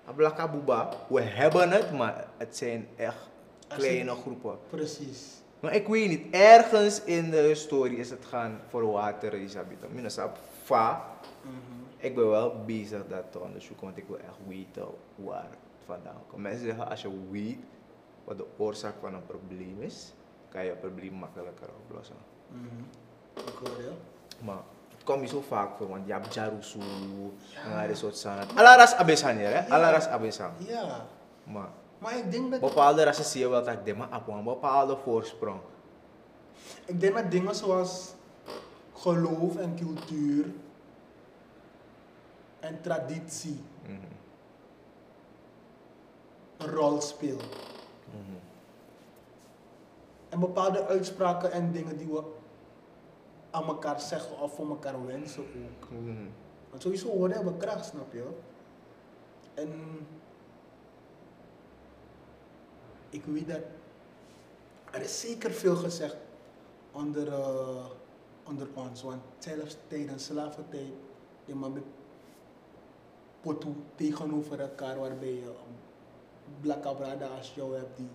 Speaker 1: Ablaka Buba, we hebben het, maar het zijn echt
Speaker 2: Er
Speaker 1: kleine
Speaker 2: zijn-
Speaker 1: groepen.
Speaker 2: Precies.
Speaker 1: Maar ik weet niet, ergens in de historie is het gaan verwateren, Isabita. Minasap, fa.
Speaker 2: Mhm.
Speaker 1: Ik ben wel bezig dat te onderzoeken, want ik wil echt weten waar het vandaan komt. Mensen zeggen, als je weet wat de oorzaak van een probleem is, kan je het probleem makkelijker oplossen.
Speaker 2: Mhm. Ik hoor je.
Speaker 1: Maar het komt niet zo vaak voor, want je hebt Jarusu, ja. dat soort zaken. Alaras abesan hier, hè? Alaras abesan.
Speaker 2: Ja,
Speaker 1: Maar
Speaker 2: maar ik denk dat
Speaker 1: bepaalde rassen zie je wel dat ik denk, maar op een bepaalde voorsprong.
Speaker 2: Ik denk met dingen zoals geloof en cultuur en traditie
Speaker 1: Mhm.
Speaker 2: een rol speelt. En bepaalde uitspraken en dingen die we aan elkaar zeggen of voor elkaar wensen ook.
Speaker 1: Mhm.
Speaker 2: Want sowieso woorden hebben kracht, snap je? En ik weet dat er is zeker veel gezegd onder, eh, onder ons. Want zelfs tijdens slaventijd, je man met potu tegenover elkaar waarbij je een blakke brada als jou hebt die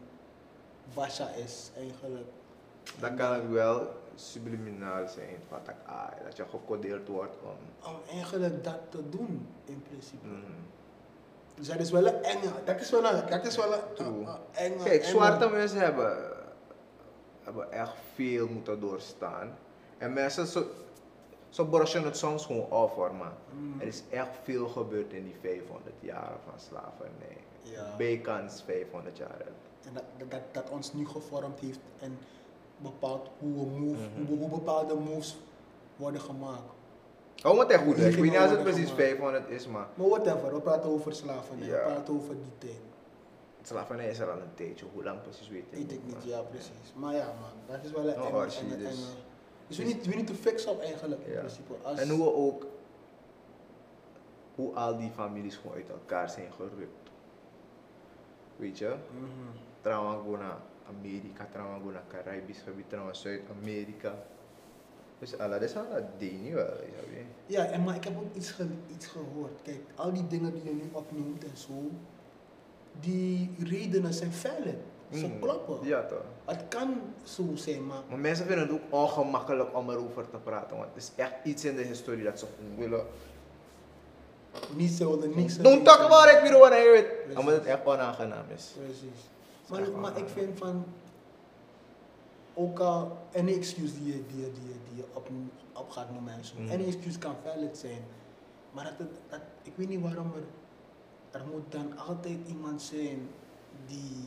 Speaker 2: washa is eigenlijk.
Speaker 1: Dan kan het wel subliminaal zijn van dat, ah, dat je gecodeerd wordt om.
Speaker 2: Om eigenlijk dat te doen in principe.
Speaker 1: Mhm.
Speaker 2: Dus dat is wel een enge. Dat is wel een, dat is wel een,
Speaker 1: True.
Speaker 2: een- een enge.
Speaker 1: Kijk,
Speaker 2: enge-
Speaker 1: zwarte mensen hebben, hebben echt veel moeten doorstaan. En mensen, ze, ze brushen het soms gewoon over, man.
Speaker 2: Mm.
Speaker 1: Er is echt veel gebeurd in die 500 jaar van slavernij.
Speaker 2: Ja.
Speaker 1: Bijkans 500 jaar.
Speaker 2: En dat, dat- dat, dat ons nu gevormd heeft en bepaalt hoe, we move,
Speaker 1: Mhm.
Speaker 2: hoe, hoe bepaalde moves worden gemaakt.
Speaker 1: Hou me ten goede, ik weet niet als het
Speaker 2: Ja,
Speaker 1: precies
Speaker 2: maar-
Speaker 1: 500 is, maar
Speaker 2: Maar whatever, we praten over slavernij,
Speaker 1: Ja.
Speaker 2: we praten over die tijd.
Speaker 1: slavernij is er al een tijdje. Hoe lang precies weet ik
Speaker 2: Weet ik niet,
Speaker 1: maar-
Speaker 2: ja precies. Maar ja man, dat is wel een
Speaker 1: Nou,
Speaker 2: enge,
Speaker 1: Archie,
Speaker 2: enge, enge.
Speaker 1: dus-
Speaker 2: Dus we need, we need to fix up eigenlijk in
Speaker 1: Ja.
Speaker 2: principe. Als,
Speaker 1: En hoe we ook, hoe al die families gewoon uit elkaar zijn gerukt. Weet je,
Speaker 2: Mhm.
Speaker 1: trouwens gewoon naar Amerika, trouwens gewoon naar Caribisch gebied, trouwens Zuid-Amerika. Dus Allah, dat is al dat ding niet wel, is dat weer.
Speaker 2: Ja, en maar ik heb ook iets, ge- iets gehoord. Kijk, al die dingen die je nu opnoemt en zo, die redenen zijn valid. Ze
Speaker 1: Mm.
Speaker 2: kloppen.
Speaker 1: Ja toch.
Speaker 2: Het kan zo zijn, maar
Speaker 1: Maar mensen vinden het ook ongemakkelijk om erover te praten, want het is echt iets in de historie dat ze willen.
Speaker 2: niet zelden, niks.
Speaker 1: Don't talk about it, we don't wanna hear it.
Speaker 2: Precies.
Speaker 1: Omdat het echt onaangenaam is.
Speaker 2: Precies.
Speaker 1: Dat is
Speaker 2: Maar,
Speaker 1: echt
Speaker 2: maar ik
Speaker 1: waar.
Speaker 2: vind van, ook al any excuse die je, die je, die je, die je op, op gaat noemen en zo,
Speaker 1: Mm.
Speaker 2: any excuse kan valid zijn. Maar dat, het- dat, ik weet niet waarom er, er moet dan altijd iemand zijn die,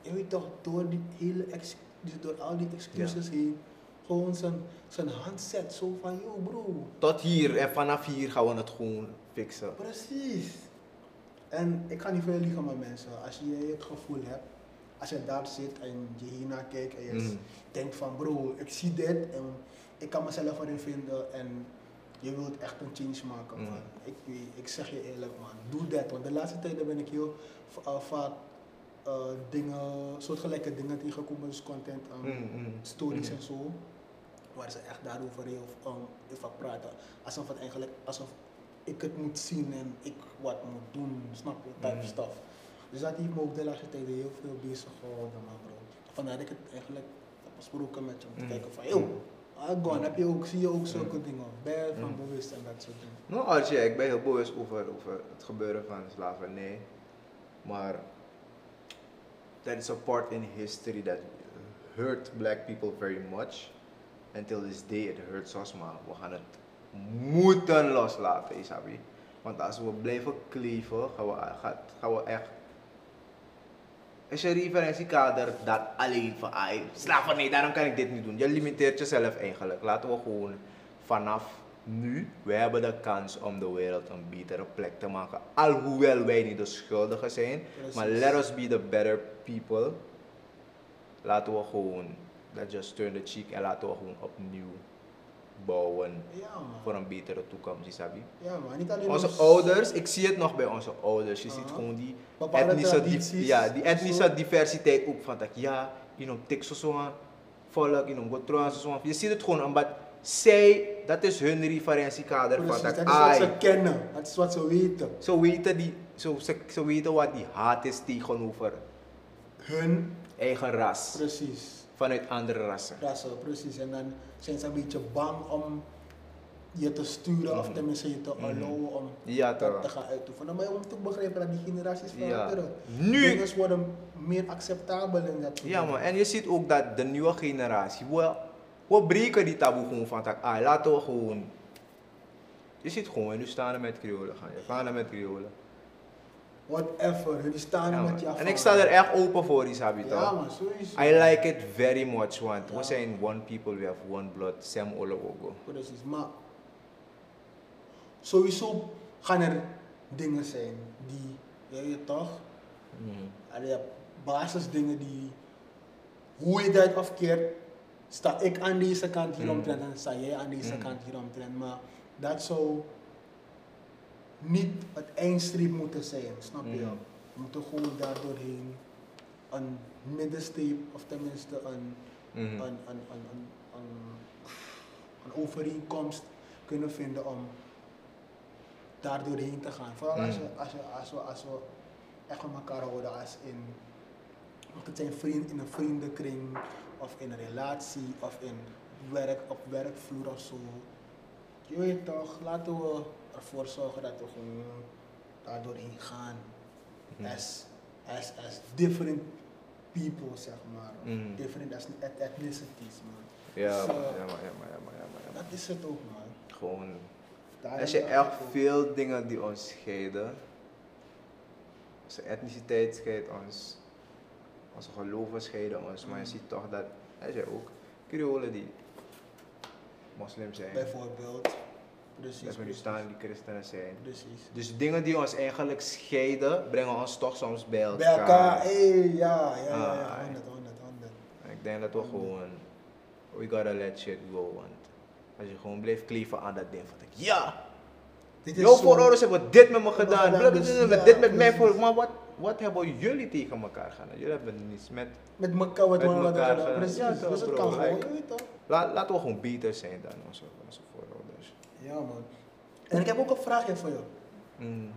Speaker 2: je weet toch, door die hele, ex, dus door al die excuses heen, gewoon zijn, zijn hand zet, zo van, yo bro,
Speaker 1: Tot hier en vanaf hier gaan we het gewoon fixen.
Speaker 2: Precies. En ik ga niet veel liegen met mensen. Als je het gevoel hebt, als je daar zit en je hiernaar kijkt en je
Speaker 1: Mhm.
Speaker 2: denkt van bro, ik zie dit en ik kan mezelf erin vinden en je wilt echt een change maken.
Speaker 1: Mhm.
Speaker 2: Man. Ik, weet- ik zeg je eerlijk man, doe dat. Want de laatste tijden ben ik heel v- eh, vaak eh, dingen, soortgelijke dingen tegengekomen, dus content, um,
Speaker 1: Mm, mm.
Speaker 2: stories
Speaker 1: Mhm.
Speaker 2: en zo. Waar ze echt daarover heel um, heel vaak praten. Alsof het eigenlijk, alsof ik het moet zien en ik wat moet doen, snap je, type
Speaker 1: Mhm.
Speaker 2: stuff. Dus dat heeft me ook de laatste tijd heel veel bezig gehouden, man bro. Vandaar dat ik het eigenlijk heb besproken met je, om te
Speaker 1: Mhm.
Speaker 2: kijken van, yo, ah, gone, heb je ook, zie je ook zulke
Speaker 1: Mhm.
Speaker 2: dingen, ben van
Speaker 1: Mhm.
Speaker 2: bewust en dat soort dingen.
Speaker 1: Nou, Archie, ik ben heel boos over, over het gebeuren van slavernij. Maar that is a part in history that hurt black people very much. Until this day, it hurts us, maar we gaan het moeten loslaten, Isabi. Want als we blijven kleven, gaan we, gaan, gaan we echt... Is je referentiekader dat alleen van, ah, slavernij, daarom kan ik dit niet doen. Je limiteert jezelf eigenlijk. Laten we gewoon vanaf nu, wij hebben de kans om de wereld een betere plek te maken. Alhoewel wij niet de schuldigen zijn,
Speaker 2: Precies.
Speaker 1: maar let us be the better people. Laten we gewoon, let's just turn the cheek en laten we gewoon opnieuw bouwen
Speaker 2: Ja, man.
Speaker 1: voor een betere toekomst, je sabi.
Speaker 2: Ja, man. Niet alleen
Speaker 1: Onze
Speaker 2: ons-
Speaker 1: ouders, ik zie het nog bij onze ouders. Je ziet
Speaker 2: Aha.
Speaker 1: gewoon die
Speaker 2: Bepaalde
Speaker 1: etnische, di-
Speaker 2: tradities
Speaker 1: ja, die
Speaker 2: en
Speaker 1: etnische
Speaker 2: zo.
Speaker 1: diversiteit ook. Van dat ja, in een Texas zo'n volk, in een Gotroan zo'n. Je ziet het gewoon omdat zij, dat is hun referentiekader. Van
Speaker 2: Precies,
Speaker 1: dat
Speaker 2: dat is wat
Speaker 1: ai.
Speaker 2: ze kennen. Dat is wat ze weten.
Speaker 1: Ze weten, die, zo ze, ze weten wat die haat is tegenover
Speaker 2: Hun,
Speaker 1: eigen ras.
Speaker 2: precies.
Speaker 1: Vanuit andere rassen.
Speaker 2: rassen, precies. En dan zijn ze een beetje bang om je te sturen
Speaker 1: Hmm.
Speaker 2: of tenminste je te allowen om
Speaker 1: Ja,
Speaker 2: dat
Speaker 1: toch.
Speaker 2: te gaan uitoefenen. Maar je moet ook begrijpen dat die generaties
Speaker 1: Ja.
Speaker 2: veranderen.
Speaker 1: Nu-
Speaker 2: Dingen worden meer acceptabel en dat soort
Speaker 1: Ja
Speaker 2: dingen.
Speaker 1: man, en je ziet ook dat de nieuwe generatie, we, we breken die taboe gewoon van tak. Ah, laten we gewoon. Je ziet gewoon, nu staan er met Creolen gaan. Je gaan er met Creolen.
Speaker 2: Whatever, jullie staan
Speaker 1: Ja,
Speaker 2: er
Speaker 1: man.
Speaker 2: met je
Speaker 1: en ik sta er
Speaker 2: erg
Speaker 1: echt open voor, die sabi
Speaker 2: Ja
Speaker 1: toch?
Speaker 2: man, sowieso.
Speaker 1: I like it very much, want
Speaker 2: Ja.
Speaker 1: we zijn one people, we have one blood, Sam Olawogo.
Speaker 2: Precies, maar sowieso gaan er dingen zijn die, ja, je weet toch,
Speaker 1: Mhm.
Speaker 2: En je hebt basisdingen die, hoe je dat afkeert, sta ik aan deze kant hieromtrend en sta jij aan deze kant hieromtrend. Maar dat zou niet het eindstreep moeten zijn, snap je?
Speaker 1: Mm.
Speaker 2: We moeten gewoon daar doorheen een middenstreep, of tenminste een,
Speaker 1: Mhm.
Speaker 2: een, een, een, een, een, een overeenkomst kunnen vinden om daar doorheen te gaan. Vooral als,
Speaker 1: Mm.
Speaker 2: je, als, je, als, we, als we echt van elkaar houden als in, want het zijn vrienden in een vriendenkring of in een relatie of in werk, op werkvloer of zo. Je weet toch, laten we ervoor zorgen dat we gewoon daar doorheen gaan.
Speaker 1: Mhm.
Speaker 2: As, as, as different people, zeg maar.
Speaker 1: Mm.
Speaker 2: Different as eth- ethnicities, man.
Speaker 1: Ja,
Speaker 2: Zo.
Speaker 1: man, ja, man, ja, man, ja, man, ja, man, ja, man.
Speaker 2: Dat is het ook, man.
Speaker 1: Gewoon.
Speaker 2: Daar
Speaker 1: Er zijn
Speaker 2: hebben we
Speaker 1: echt
Speaker 2: ook-
Speaker 1: veel dingen die ons scheiden. Onze etniciteit scheidt ons, onze geloven scheiden ons, maar je
Speaker 2: Mm.
Speaker 1: ziet toch dat er zijn ook Creolen die moslim zijn, er
Speaker 2: Bijvoorbeeld. Precies.
Speaker 1: zijn staan die christenen zijn.
Speaker 2: Precies.
Speaker 1: Dus dingen die ons eigenlijk scheiden, brengen ons toch soms bij elkaar.
Speaker 2: Bij elkaar, hey, ja, ja, ja, ja,
Speaker 1: Ah,
Speaker 2: 100, 100, 100.
Speaker 1: En Ik denk dat we gewoon, we gotta let shit go, want als je gewoon blijft kleven aan dat ding van ik, ja!
Speaker 2: Dit
Speaker 1: Jouw
Speaker 2: zo-
Speaker 1: voorouders hebben dit met me
Speaker 2: hebben
Speaker 1: gedaan,
Speaker 2: gedaan,
Speaker 1: blablabla,
Speaker 2: dus
Speaker 1: hebben
Speaker 2: ja,
Speaker 1: dit met mij
Speaker 2: precies.
Speaker 1: voor. Maar wat, wat hebben jullie tegen elkaar gedaan? Jullie hebben niets met.
Speaker 2: Met elkaar wat
Speaker 1: Met
Speaker 2: we
Speaker 1: elkaar eh.
Speaker 2: elkaar
Speaker 1: gaan.
Speaker 2: Precies,
Speaker 1: Ja,
Speaker 2: dus
Speaker 1: toch,
Speaker 2: het
Speaker 1: bro,
Speaker 2: kan gewoon,
Speaker 1: like-
Speaker 2: je weet toch?
Speaker 1: La, laten we gewoon beter zijn dan onze, onze voorouders.
Speaker 2: Ja, man. En ik heb ook een vraagje voor jou.
Speaker 1: Mm.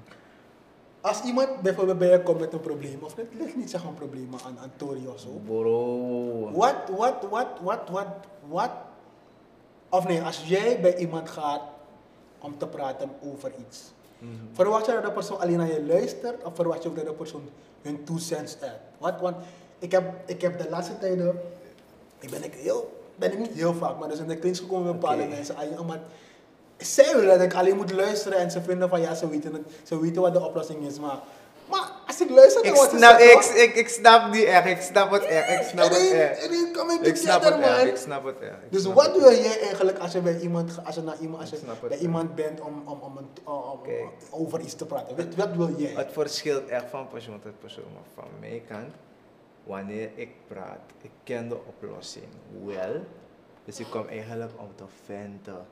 Speaker 2: Als iemand bijvoorbeeld bij je komt met een probleem, of het ligt niet zeg maar een probleem maar aan, aan Tori of zo.
Speaker 1: Bro.
Speaker 2: Wat, wat, wat, wat, wat, wat? Of nee, als jij bij iemand gaat om te praten over iets,
Speaker 1: Mhm.
Speaker 2: verwacht je dat de persoon alleen naar je luistert of verwacht je ook dat de persoon hun two cents uit? Wat, want ik heb, ik heb de laatste tijden, ik ben, ik heel, ben ik niet heel vaak, maar dus in de clinch gekomen met bepaalde
Speaker 1: Oké.
Speaker 2: mensen. Ah, ja, maar zij willen dat ik alleen moet luisteren en ze vinden van ja, ze weten, het, ze weten wat de oplossing is, maar, maar als ik luister naar
Speaker 1: Ik
Speaker 2: wat ze
Speaker 1: snap,
Speaker 2: zeggen,
Speaker 1: ik, ik, ik snap die echt, ik snap het echt, ik snap het
Speaker 2: it
Speaker 1: echt.
Speaker 2: ain't, it ain't coming
Speaker 1: Ik snap het
Speaker 2: together,
Speaker 1: echt,
Speaker 2: man.
Speaker 1: ik snap het echt. ik
Speaker 2: Dus
Speaker 1: snap
Speaker 2: wat
Speaker 1: het
Speaker 2: wil jij eigenlijk als je bij iemand, ga- als je naar iemand, als
Speaker 1: Ik
Speaker 2: je
Speaker 1: snap het.
Speaker 2: bij iemand bent om, om, om, een, om- om-
Speaker 1: Kijk.
Speaker 2: over iets te praten? Wat, wat wil jij?
Speaker 1: Het verschilt echt van persoon tot persoon, maar van mijn kant, wanneer ik praat, ik ken de oplossing wel. Dus ik kom eigenlijk om te venten.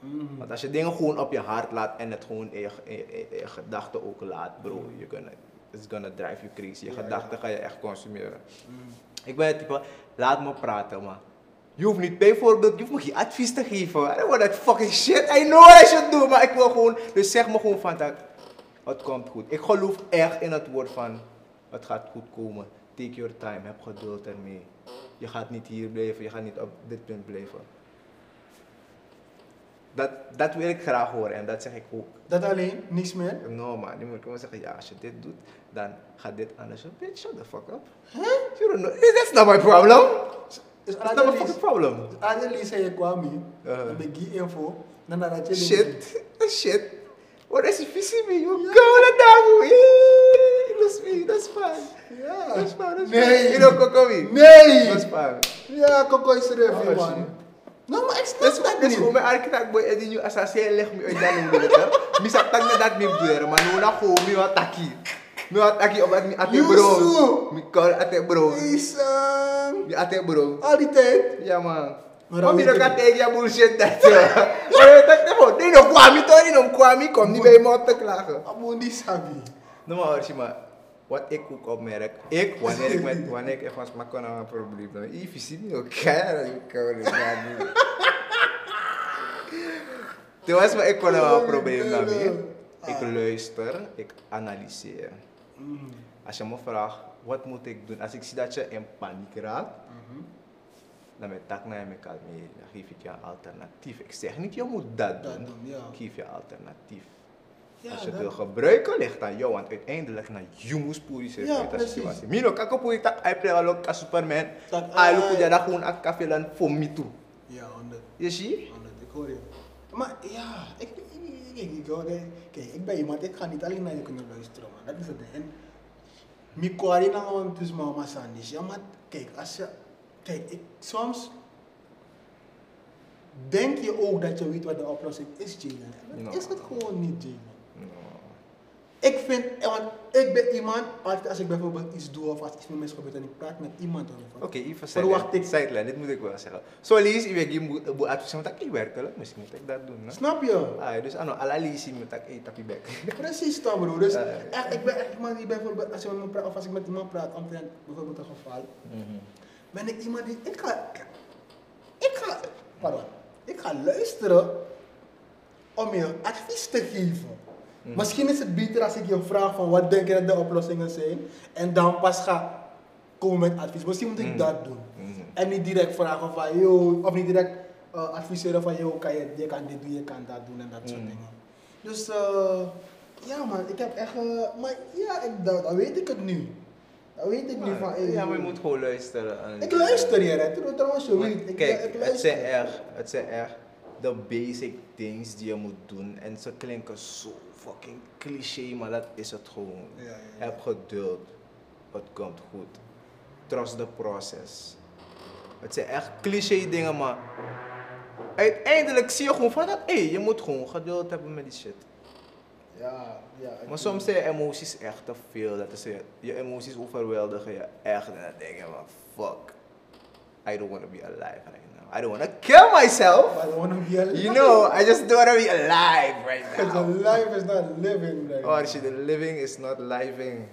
Speaker 2: Mm.
Speaker 1: Want als je dingen gewoon op je hart laat en het gewoon in je, in je- in je gedachten ook laat, bro, you're gonna, it's gonna drive you crazy. Je
Speaker 2: Hmm. Ja,
Speaker 1: gedachten ga je echt consumeren.
Speaker 2: Mm.
Speaker 1: Ik ben het type, laat me praten, man. Je hoeft niet bijvoorbeeld, je hoeft me geen advies te geven. I don't want that fucking shit. I know I should do, maar ik wil gewoon, dus zeg me gewoon van dat, het komt goed. Ik geloof echt in het woord van, het gaat goed komen. Take your time, heb geduld ermee. Je gaat niet hier blijven, je gaat niet op dit punt blijven. Dat, dat wil ik graag horen en dat zeg ik ook.
Speaker 2: Dat alleen, niks meer.
Speaker 1: No man, nu moet ik gewoon zeggen, ja, als je dit doet, dan gaat dit anders. Bitch, shut the fuck up. Huh? You don't know. That's not my problem.
Speaker 2: Dus
Speaker 1: That's not my
Speaker 2: Adelie,
Speaker 1: fucking problem.
Speaker 2: Adelie zei je kwam hier,
Speaker 1: Eh.
Speaker 2: dan ben ik die info, dan nadat je
Speaker 1: Shit, shit. What is it fixing me? You go to dog. You lose me. That's fine.
Speaker 2: Ja.
Speaker 1: That's fine. That's
Speaker 2: Nee.
Speaker 1: fine. You don't cook me.
Speaker 2: Nee!
Speaker 1: That's fine.
Speaker 2: Ja, Coco is er even,
Speaker 1: Oh, shit.
Speaker 2: man. Nou, maar ik snap
Speaker 1: Dat is
Speaker 2: dat
Speaker 1: dat is
Speaker 2: niet.
Speaker 1: gewoon mijn architect boy en die nu assassin legt me uit dan hoe dat. Misa tak me dat me deur, maar nu na gewoon me wat taki. Me wat taki op me ate
Speaker 2: Yusu.
Speaker 1: bro. Me call ate bro.
Speaker 2: Is, ehm,
Speaker 1: Me ate bro.
Speaker 2: al die tijd.
Speaker 1: Ja man. Maar wie kan tegen die bullshit dat? Maar je denkt ervan, nee, nog kwam niet hoor, nee, nog kwam niet, kom niet bij me op te klagen.
Speaker 2: Amundi sabi.
Speaker 1: Nou maar Orsi, maar wat ik ook opmerk, ik, wanneer ik met, wanneer ik echt was makkelijk aan een probleem heb, ik zie niet elkaar, ik kan niet doen. Toen was maar ik kon een probleem daarmee. Ik luister, ik analyseer. Als je me vraagt, wat moet ik doen? Als ik zie dat je in paniek raakt, dan ben ik tak naar je me kalmeren. Dan geef ik je een alternatief. Ik zeg niet, je moet dat
Speaker 2: Dat
Speaker 1: doen.
Speaker 2: doen, ja.
Speaker 1: Ik geef je een alternatief.
Speaker 2: Ja,
Speaker 1: Als je het
Speaker 2: dat-
Speaker 1: wil gebruiken, ligt aan jou. Want uiteindelijk, na je moest poerie zijn
Speaker 2: Ja,
Speaker 1: uit de
Speaker 2: precies.
Speaker 1: situatie. Mino, kijk op hoe ik dat uitleg al ook als superman.
Speaker 2: Dat-
Speaker 1: Hij loopt
Speaker 2: ah,
Speaker 1: op
Speaker 2: ja.
Speaker 1: je dag gewoon aan café land voor me toe.
Speaker 2: Ja, honderd.
Speaker 1: Je ziet?
Speaker 2: Honderd, ik hoor je. Maar ja, ik, ik, ik, ik, ik hoor je. Kijk, ik ben iemand, ik ga niet alleen naar je kunnen luisteren, man. Dat is het. En mijn kwari na gewoon tussen mama Sandis. Ja, maar kijk, als je... Kijk, ik, soms denk je ook dat je weet wat de oplossing is, Jalen. En Dat
Speaker 1: No.
Speaker 2: is het gewoon niet, Jalen.
Speaker 1: No.
Speaker 2: Ik vind, eh, want ik ben iemand, altijd als ik bijvoorbeeld iets doe of als iets met mensen gebeurt en ik praat met iemand
Speaker 1: Oké,
Speaker 2: over.
Speaker 1: even
Speaker 2: Verwacht
Speaker 1: sideline.
Speaker 2: ik.
Speaker 1: Sideline, dit moet ik wel zeggen. Zo lees je weer geen boe- boe- advies, want dat niet werkelijk. Misschien moet ik dat doen. hè?
Speaker 2: Snap je?
Speaker 1: Ah, dus ano, ala lees je met dat eet op je bek.
Speaker 2: Precies, dan broer. Dus
Speaker 1: Ja.
Speaker 2: echt, ik ben echt iemand die bijvoorbeeld, als, je met me praat, of als ik met iemand praat, omtrent bijvoorbeeld een geval, ben ik iemand die, ik ga, ik ga, pardon, ik ga luisteren om je advies te geven.
Speaker 1: Mhm.
Speaker 2: Misschien is het beter als ik je vraag van wat denk je dat de oplossingen zijn en dan pas ga komen met advies. Misschien moet ik dat doen.
Speaker 1: Mhm.
Speaker 2: En niet direct vragen van, yo, of niet direct eh, adviseren van, yo, kan je, je kan dit doen, je kan dat doen en dat soort
Speaker 1: Mhm.
Speaker 2: dingen. Dus, eh, ja man, ik heb echt, eh, maar ja, ik, dat, dat weet ik het nu. Dat weet ik nu van, hey,
Speaker 1: ja,
Speaker 2: yo.
Speaker 1: maar je moet gewoon luisteren. en-
Speaker 2: eh, Ik luister hier, hè. Trouw- trouwens, je
Speaker 1: Maar
Speaker 2: weet, ik,
Speaker 1: Kijk,
Speaker 2: ik
Speaker 1: het
Speaker 2: luister.
Speaker 1: zijn echt, het zijn echt de basic things die je moet doen. En ze klinken zo fucking cliché, maar dat is het gewoon.
Speaker 2: Ja, ja, ja.
Speaker 1: Heb geduld. Het komt goed. Trust the process. Het zijn echt cliché dingen, maar uiteindelijk zie je gewoon van dat, hé, je moet gewoon geduld hebben met die shit.
Speaker 2: Ja, ja. ik-
Speaker 1: Maar soms zijn je emoties echt te veel. Dat is je, je emoties overweldigen je echt. En dan denk je van, fuck. I don't want to be alive right now. I don't want to kill myself.
Speaker 2: But I wanna be alive.
Speaker 1: You know, I just don't want to be alive right
Speaker 2: Because the
Speaker 1: now.
Speaker 2: life is not living right
Speaker 1: Oh shit, the living is not living.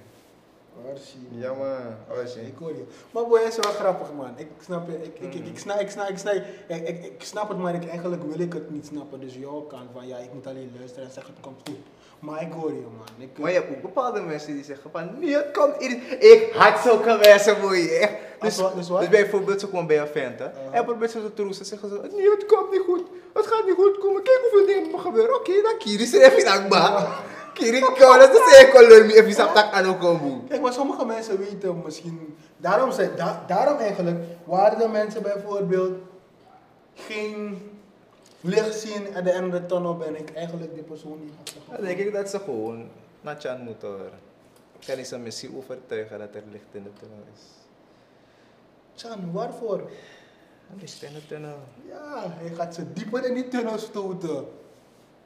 Speaker 2: Archie.
Speaker 1: Ja man, oh shit.
Speaker 2: Ik hoor je. Maar boy, het is wel grappig man. Ik snap je. Ik, ik,
Speaker 1: Mm.
Speaker 2: ik, ik, snap, ik, snap, ik, snap, ik, ik, ik snap het, maar ik, eigenlijk wil ik het niet snappen. Dus jouw kant van ja, ik moet alleen luisteren en zeggen het komt goed. Maar ik hoor je man. Ik,
Speaker 1: Maar je hebt ook bepaalde mensen die zeggen van, nee het komt hier. Ik had zulke mensen moeie. Echt. Dus,
Speaker 2: Als wat- dus wat?
Speaker 1: bijvoorbeeld, ze komen bij een vent hè.
Speaker 2: Uh-huh.
Speaker 1: En probeert ze te troosten. Zeggen ze, nee het komt niet goed. Het gaat niet goed komen. Kijk hoeveel dingen er gebeuren. Oké, dan kiri ze even aan ba. Kiri kou, dat is een kolor. Even saptak aan ook een boe.
Speaker 2: Kijk, maar sommige mensen weten misschien. Daarom, zijn, da- daarom eigenlijk waren de mensen bijvoorbeeld geen licht zien en de andere tunnel ben ik eigenlijk die persoon die gaat zeggen.
Speaker 1: Dan denk ik dat ze gewoon naar Chan moeten horen. Kan ik ze misschien overtuigen dat er licht in de tunnel is.
Speaker 2: Chan, waarvoor?
Speaker 1: Een Licht in de tunnel.
Speaker 2: Ja, hij gaat ze dieper in die tunnel stoten.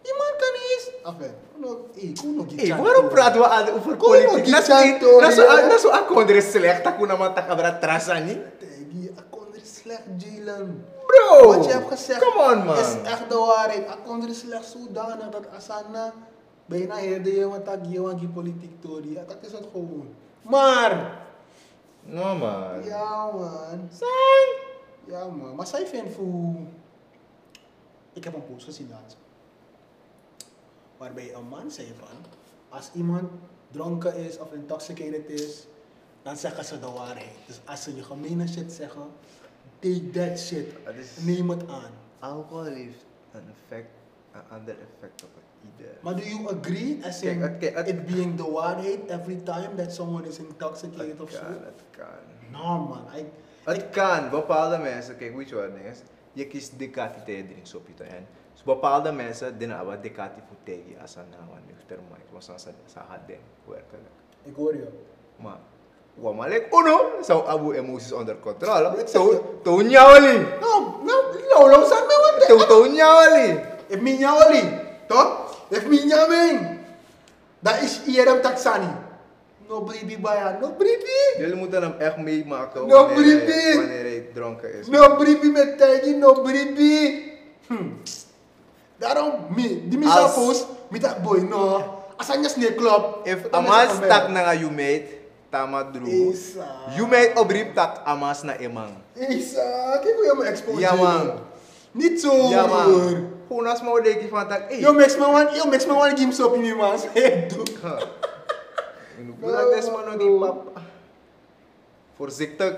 Speaker 2: Die man kan niet eens. Enfin, kon ook- hey, kon ook die
Speaker 1: Hey,
Speaker 2: Chan
Speaker 1: waarom
Speaker 2: toren.
Speaker 1: praten we aan- over
Speaker 2: Kom op,
Speaker 1: politiek?
Speaker 2: die
Speaker 1: Dat is niet-
Speaker 2: Santori,
Speaker 1: dat is zo-
Speaker 2: hè?
Speaker 1: dat is zo akondre slecht. Dat kunnen we tak abra trasan, niet?
Speaker 2: Tegen die Akonder is slecht, Jalen.
Speaker 1: Bro!
Speaker 2: Wat je hebt gezegd
Speaker 1: Come on, man.
Speaker 2: is echt de waarheid. Akonder is slecht zodanig dat Asana bijna herde je wat ik je want die politiek tory. Ja, Dat is het gewoon. Maar,
Speaker 1: No, man.
Speaker 2: ja man.
Speaker 1: Zijn!
Speaker 2: Ja man. Maar zij vindt voor... Ik heb een post gezien laatst. Waarbij een man zei van, als iemand dronken is of intoxicated is, dan zeggen ze de waarheid. Dus als ze je gemene shit zeggen, take that shit.
Speaker 1: Dat is-
Speaker 2: Neem het aan.
Speaker 1: Alcohol heeft een effect, een ander effect op ieder.
Speaker 2: Maar do you agree as
Speaker 1: Kijk,
Speaker 2: in
Speaker 1: het- kijk, het-
Speaker 2: it being the waarheid every time that someone is intoxicated
Speaker 1: Het
Speaker 2: of zo?
Speaker 1: kan, het kan.
Speaker 2: No man, I,
Speaker 1: Het kan, bepaalde mensen, kijk, weet je wat het ding is? Je kiest de kati tegen drinks op je te en dus bepaalde mensen dienen al wat de kati voor tegen als een nou een nuchter man, want ze ze had denk werkelijk.
Speaker 2: ik hoor je.
Speaker 1: Maar wat maar lek uno, zou abu emoties onder controle.
Speaker 2: Ik zeg
Speaker 1: Tou
Speaker 2: je.
Speaker 1: tou nyawali,
Speaker 2: No, no, no, no, sa me wante.
Speaker 1: tou tou nyawali.
Speaker 2: If mi nyawali, toch? If mi nyaming, dat is IRM taksani. No bribi ba yan? No bribi!
Speaker 1: Jullie moeten hem echt meemaken
Speaker 2: No,
Speaker 1: wanneer, hij,
Speaker 2: Bribi!
Speaker 1: wanneer hij dronken is.
Speaker 2: No bribi met Teddy, no bribi! Hm. Daarom, mi, di mi sa
Speaker 1: Als-
Speaker 2: post, mi tak boy, no. Asan niya snake club?
Speaker 1: If
Speaker 2: Ano
Speaker 1: amas
Speaker 2: sa
Speaker 1: tak
Speaker 2: kamera?
Speaker 1: na nga you mate, tama drugo.
Speaker 2: Isa.
Speaker 1: You mate obrib tak amas na imang.
Speaker 2: Isa, kaya ko yung ma-expose
Speaker 1: Yeah, man.
Speaker 2: Niet zo.
Speaker 1: Yeah,
Speaker 2: broer.
Speaker 1: man. Ya, Hunas mo deki van tak, eh.
Speaker 2: Yo makes me want, yo makes me want to give him something in man's head, dude.
Speaker 1: Huh. Budak des mano di pap. Voorzichtig,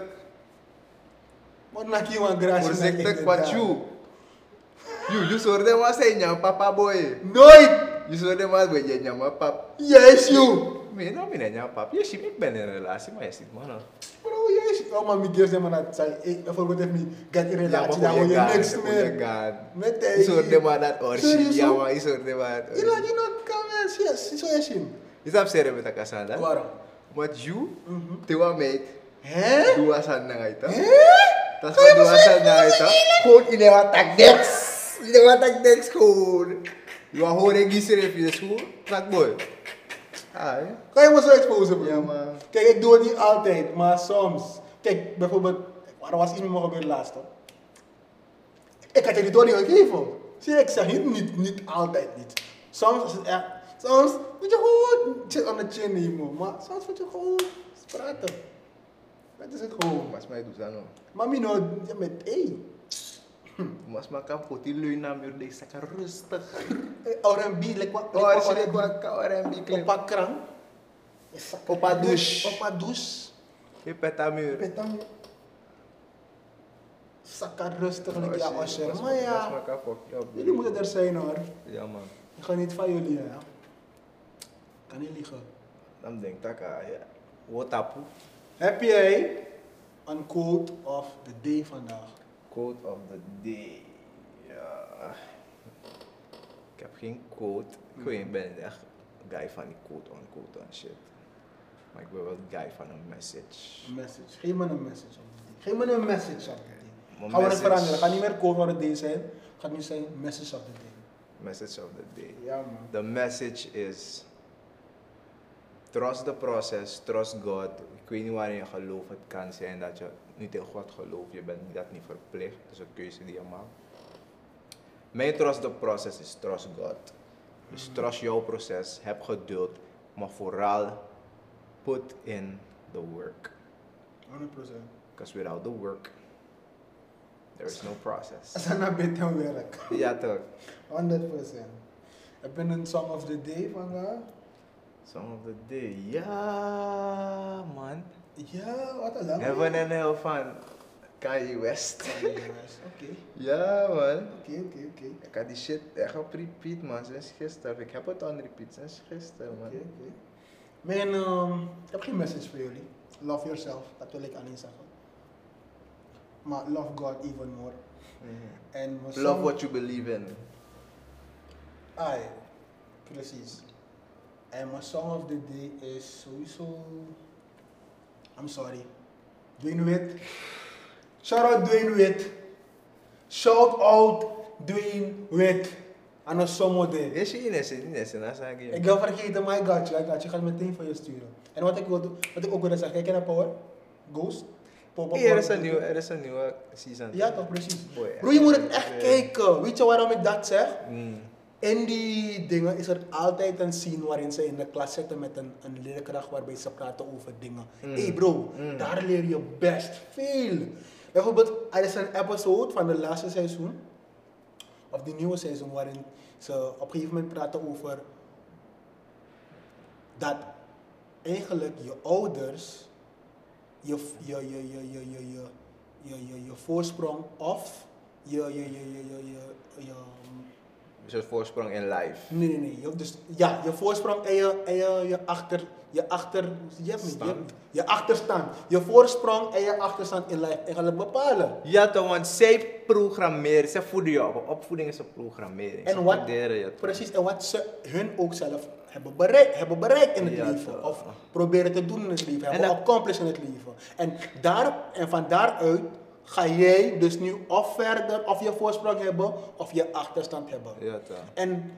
Speaker 2: Wat nak je want graag?
Speaker 1: voorzichtig wat you. You, you sorde mas eh nyam papa boy.
Speaker 2: Nooit.
Speaker 1: You sorde mas boy je nyam pap.
Speaker 2: Yes, you.
Speaker 1: Mina mina nyam pap. Je ship ik ben in relatie maar je zit mano.
Speaker 2: Bro, yes. Oh man, mi girls them and I say, hey, if I go take me, get in relatie, dan word je niks meer. Met
Speaker 1: Met
Speaker 2: de-
Speaker 1: Is hoorde maar dat orgie,
Speaker 2: Serieus,
Speaker 1: ja
Speaker 2: hoor.
Speaker 1: maar is hoorde maar dat
Speaker 2: Je laat
Speaker 1: orgie.
Speaker 2: je not come and yes, zo is him.
Speaker 1: Is dat serre met elkaar samen?
Speaker 2: Waarom?
Speaker 1: Want you, tewa meid,
Speaker 2: Hè?
Speaker 1: dua san na ngaita.
Speaker 2: Hè?
Speaker 1: Tas pa dua san na ngaita, gewoon in ewa tak dex. In ewa tak dex gewoon. You are horen gisere fi de school, tak boy. Ai.
Speaker 2: Kan je me zo exposen, bro?
Speaker 1: Ja, man.
Speaker 2: Kijk, ik doe het niet altijd, maar soms. Kijk, bijvoorbeeld, er was iets met me gebeurd laatst, hoor. Ik had je die doorheen gegeven. Zie je, ik zeg niet, niet, niet altijd niet. Soms is het echt, soms moet je gewoon shit on the chin nemen, maar soms moet je gewoon praten. Dat is het gewoon.
Speaker 1: Mas mij doet dat nou.
Speaker 2: Mami, nou, je met, hey,
Speaker 1: Mas maar kan voor die leuna meer de zakken rustig.
Speaker 2: R&B, lekker wat,
Speaker 1: Oh, er
Speaker 2: lekker
Speaker 1: zit ik
Speaker 2: wat,
Speaker 1: wel kouder en bieklim.
Speaker 2: opa krang.
Speaker 1: Opa douche.
Speaker 2: Opa douche.
Speaker 1: Je pet aan muur.
Speaker 2: Petang zakken rustig een keer
Speaker 1: Mas
Speaker 2: Asher. Maar
Speaker 1: maar
Speaker 2: ja,
Speaker 1: kan fuck je op.
Speaker 2: jullie moeten er zijn hoor.
Speaker 1: Ja man.
Speaker 2: Ik ga niet van jullie hè. Kan niet liegen.
Speaker 1: Dan denk ik, taka, ja. Wat apu?
Speaker 2: Heb jij een quote of the day vandaag?
Speaker 1: Quote of the day. Ja. Ik heb geen quote. Ik weet- ik ben echt een guy van die quote on quote en shit. Maar ik ben wel een guy van een message.
Speaker 2: Een message. Geef me een message op the day. Geef me een message op the day.
Speaker 1: Mijn
Speaker 2: Gaan we het
Speaker 1: message.
Speaker 2: veranderen. Ga niet meer quote van the day zijn. Ga nu zijn message op the day.
Speaker 1: Message of the day.
Speaker 2: Ja man.
Speaker 1: The message is trust the process, trust God. Ik weet niet waarin je gelooft. Het kan zijn dat je niet in God gelooft. Je bent dat niet verplicht. Dat is een keuze die je maakt. Mijn trust the process is trust God. Dus trust jouw proces. Heb geduld. Maar vooral put in the work.
Speaker 2: 100%.
Speaker 1: Because without the work, there is no process.
Speaker 2: Als dat naar beter werk.
Speaker 1: ja toch.
Speaker 2: 100%. Heb je een song of the day vandaag?
Speaker 1: Song of the day. Ja man.
Speaker 2: Ja, wat een lang.
Speaker 1: Heaven and Hell van Kanye West.
Speaker 2: Oké,
Speaker 1: ja, man.
Speaker 2: oké, oké, oké.
Speaker 1: Ik had die shit echt op repeat, man, sinds gisteren. Ik heb het on repeat sinds gisteren, man.
Speaker 2: Oké, oké. Mijn, ehm, ik heb geen message voor jullie. Love yourself, dat wil ik alleen zeggen. Maar love God even more.
Speaker 1: Mhm.
Speaker 2: En mijn song-
Speaker 1: Love what you believe in.
Speaker 2: Ai, precies. En mijn song of the day is sowieso... I'm sorry. Dwayne Wade. Shout out Dwayne Wade. Shout out Dwayne Wade. Aan ons zomerdag.
Speaker 1: Is je innocent, innocent, dat zeg
Speaker 2: Ik
Speaker 1: je.
Speaker 2: ben vergeten, maar ik got you, I got you. Ik ga het meteen voor je sturen. En wat ik, wil doen, wat ik ook wilde zeggen, kijk je naar Power? Ghost? Pop-up
Speaker 1: Hey, er is
Speaker 2: Power? E
Speaker 1: een nieuwe, er is een nieuwe season.
Speaker 2: Ja toch, precies.
Speaker 1: Boy, ja.
Speaker 2: Bro, je moet het echt kijken. Weet je waarom ik dat zeg?
Speaker 1: Mm.
Speaker 2: In die dingen is er altijd een scene waarin ze in de klas zitten met een, een leerkracht waarbij ze praten over dingen.
Speaker 1: Mm.
Speaker 2: hey bro,
Speaker 1: Mm.
Speaker 2: daar leer je best veel. Bijvoorbeeld, er is een episode van de laatste seizoen, of die nieuwe seizoen, waarin ze op een gegeven moment praten over dat eigenlijk je ouders je, je, je, je, je, je, je, je, je, je, je voorsprong of je, je, je, je, je, je, je
Speaker 1: Dus het voorsprong in life.
Speaker 2: Nee, nee, nee. Je, dus, ja, je voorsprong en je, en je, je achter... Je achter... Je, hebt niet, je,
Speaker 1: Stand.
Speaker 2: je achterstand. Je voorsprong en je achterstand in lijf. En gaan het bepalen.
Speaker 1: Ja toch, want zij programmeren, zij voeden je op. Opvoeding is een programmering. Ze
Speaker 2: En wat,
Speaker 1: coderen je toch.
Speaker 2: precies, en wat ze hun ook zelf hebben bereikt, hebben bereikt in het
Speaker 1: Ja,
Speaker 2: leven.
Speaker 1: toch.
Speaker 2: Of proberen te doen in het leven. Hebben
Speaker 1: dat-
Speaker 2: accomplished in het leven. En, daar, en van daaruit ga jij dus nu of verder of je voorsprong hebben of je achterstand hebben.
Speaker 1: Ja toch.
Speaker 2: En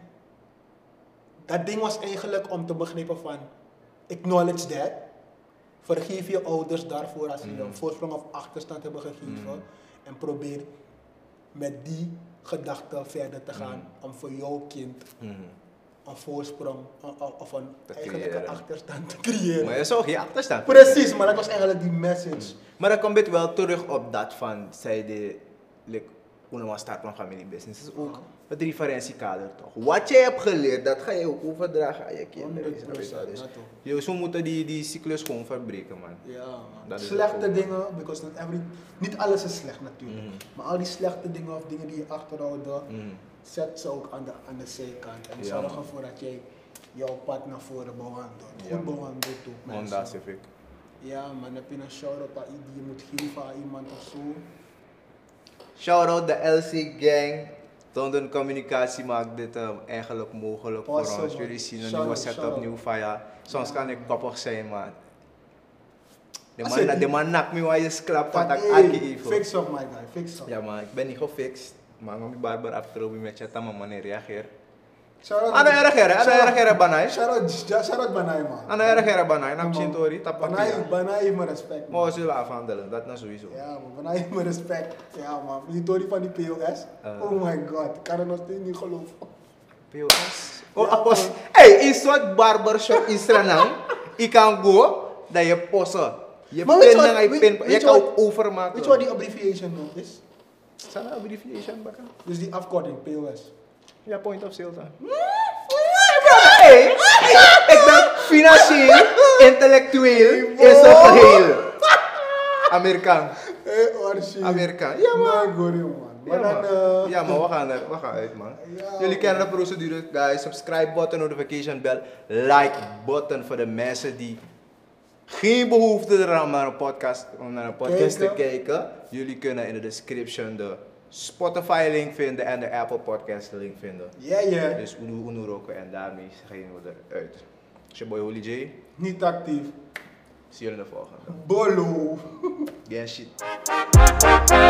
Speaker 2: dat ding was eigenlijk om te begrijpen van acknowledge that. Vergeef je ouders daarvoor als ze
Speaker 1: Mm.
Speaker 2: je een voorsprong of achterstand hebben gegeven. En probeer met die gedachte verder
Speaker 1: Mm.
Speaker 2: te gaan om voor jouw kind een voorsprong o- o- of een
Speaker 1: Te
Speaker 2: eigenlijk een
Speaker 1: creëren.
Speaker 2: achterstand te creëren.
Speaker 1: Maar Mm. je zou geen achterstand
Speaker 2: Precies, maar dat was eigenlijk die message.
Speaker 1: Maar dan komt het wel terug op dat van, zij de, like, hoe noem je start van familiebusiness. is ook
Speaker 2: Oh.
Speaker 1: het referentiekader toch. Wat jij hebt geleerd, dat ga je ook overdragen aan je kinderen.
Speaker 2: 100%,
Speaker 1: snap je dat? Dus
Speaker 2: ja, toch.
Speaker 1: je- zo moeten die, die cyclus gewoon verbreken, man.
Speaker 2: Ja, man.
Speaker 1: Dat is
Speaker 2: Slechte
Speaker 1: ook-
Speaker 2: dingen, because not every, niet alles is slecht natuurlijk.
Speaker 1: Mm.
Speaker 2: Maar al die slechte dingen of dingen die je achterhouden,
Speaker 1: Mhm,
Speaker 2: zet ze ook aan de, aan de zijkant. En
Speaker 1: Ja,
Speaker 2: zorg
Speaker 1: man.
Speaker 2: ervoor dat jij jouw pad naar voren bewandelt. Goed
Speaker 1: Ja, man.
Speaker 2: bewandelt ook, mensen.
Speaker 1: Honda Civic.
Speaker 2: Ja, man. Heb je een shout-out aan i- die je moet geven aan iemand of zo?
Speaker 1: Shout out de LC Gang. Tondon Communicatie maakt dit eh, eigenlijk mogelijk
Speaker 2: Awesome,
Speaker 1: voor ons.
Speaker 2: man.
Speaker 1: Jullie zien een
Speaker 2: Shout
Speaker 1: nieuwe
Speaker 2: out, shout
Speaker 1: setup,
Speaker 2: out.
Speaker 1: nieuw fire. Soms kan ik koppig zijn, maar. De
Speaker 2: Als
Speaker 1: man,
Speaker 2: je
Speaker 1: na-
Speaker 2: die-
Speaker 1: de man nakt me waar je klap van
Speaker 2: Van,
Speaker 1: dat
Speaker 2: hey,
Speaker 1: aangegeven.
Speaker 2: Fix up, my guy. Fix up.
Speaker 1: Ja, maar ik Ya, ben niet gefixt. Maar mijn barber afgelopen met je tamme man reageer.
Speaker 2: Shout-out
Speaker 1: Aan de erg heren, aan de
Speaker 2: shout-out-
Speaker 1: erg heren banai.
Speaker 2: Shout-out shout-out Banai, man.
Speaker 1: Aan de erg heren banai.
Speaker 2: Ja,
Speaker 1: Nak
Speaker 2: man.
Speaker 1: chintori, tapakje.
Speaker 2: Banai, Banai heeft mijn respect, man.
Speaker 1: Maar we zullen afhandelen, dat nou sowieso.
Speaker 2: Ja man, vanuit heeft mijn respect. Ja man, die Tony van die POS.
Speaker 1: Eh.
Speaker 2: Oh my god, ik kan het nog steeds niet geloven.
Speaker 1: POS. Oh,
Speaker 2: Ja,
Speaker 1: apos.
Speaker 2: man.
Speaker 1: Hey, in soort barbershop in Sranang, ik kan go, dat je possen. Je
Speaker 2: Maar
Speaker 1: maar
Speaker 2: weet
Speaker 1: pin
Speaker 2: je wat-
Speaker 1: en je
Speaker 2: weet-
Speaker 1: pin. Je
Speaker 2: weet je
Speaker 1: kan
Speaker 2: wat-
Speaker 1: ook overmaken.
Speaker 2: Weet je wat die abbreviation nog is?
Speaker 1: Zijn dat abbreviation bakken?
Speaker 2: Dus die afkorting, POS.
Speaker 1: Ja, point of sale dan. Hey, ik- ik ben financieel, intellectueel, is een geheel. Amerikaan.
Speaker 2: Hé, Orsi.
Speaker 1: Amerikaan. Ja, man.
Speaker 2: Maar goeie man. Maar
Speaker 1: Ja,
Speaker 2: dan,
Speaker 1: man.
Speaker 2: eh,
Speaker 1: Ja, maar we gaan, er, we gaan uit, man.
Speaker 2: Ja,
Speaker 1: Jullie
Speaker 2: man.
Speaker 1: kennen de procedure, guys. Subscribe button, notification bell, like button voor de mensen die geen behoefte hebben om naar een podcast, om naar een podcast te kijken. Jullie kunnen in de description de Spotify link vinden en de Apple Podcast link vinden.
Speaker 2: Ja, ja.
Speaker 1: Dus Uno Uno roken en daarmee gaan we eruit. It's your boy Holy J.
Speaker 2: Niet actief.
Speaker 1: Zie jullie in de volgende.
Speaker 2: Bolo.
Speaker 1: Gang shit.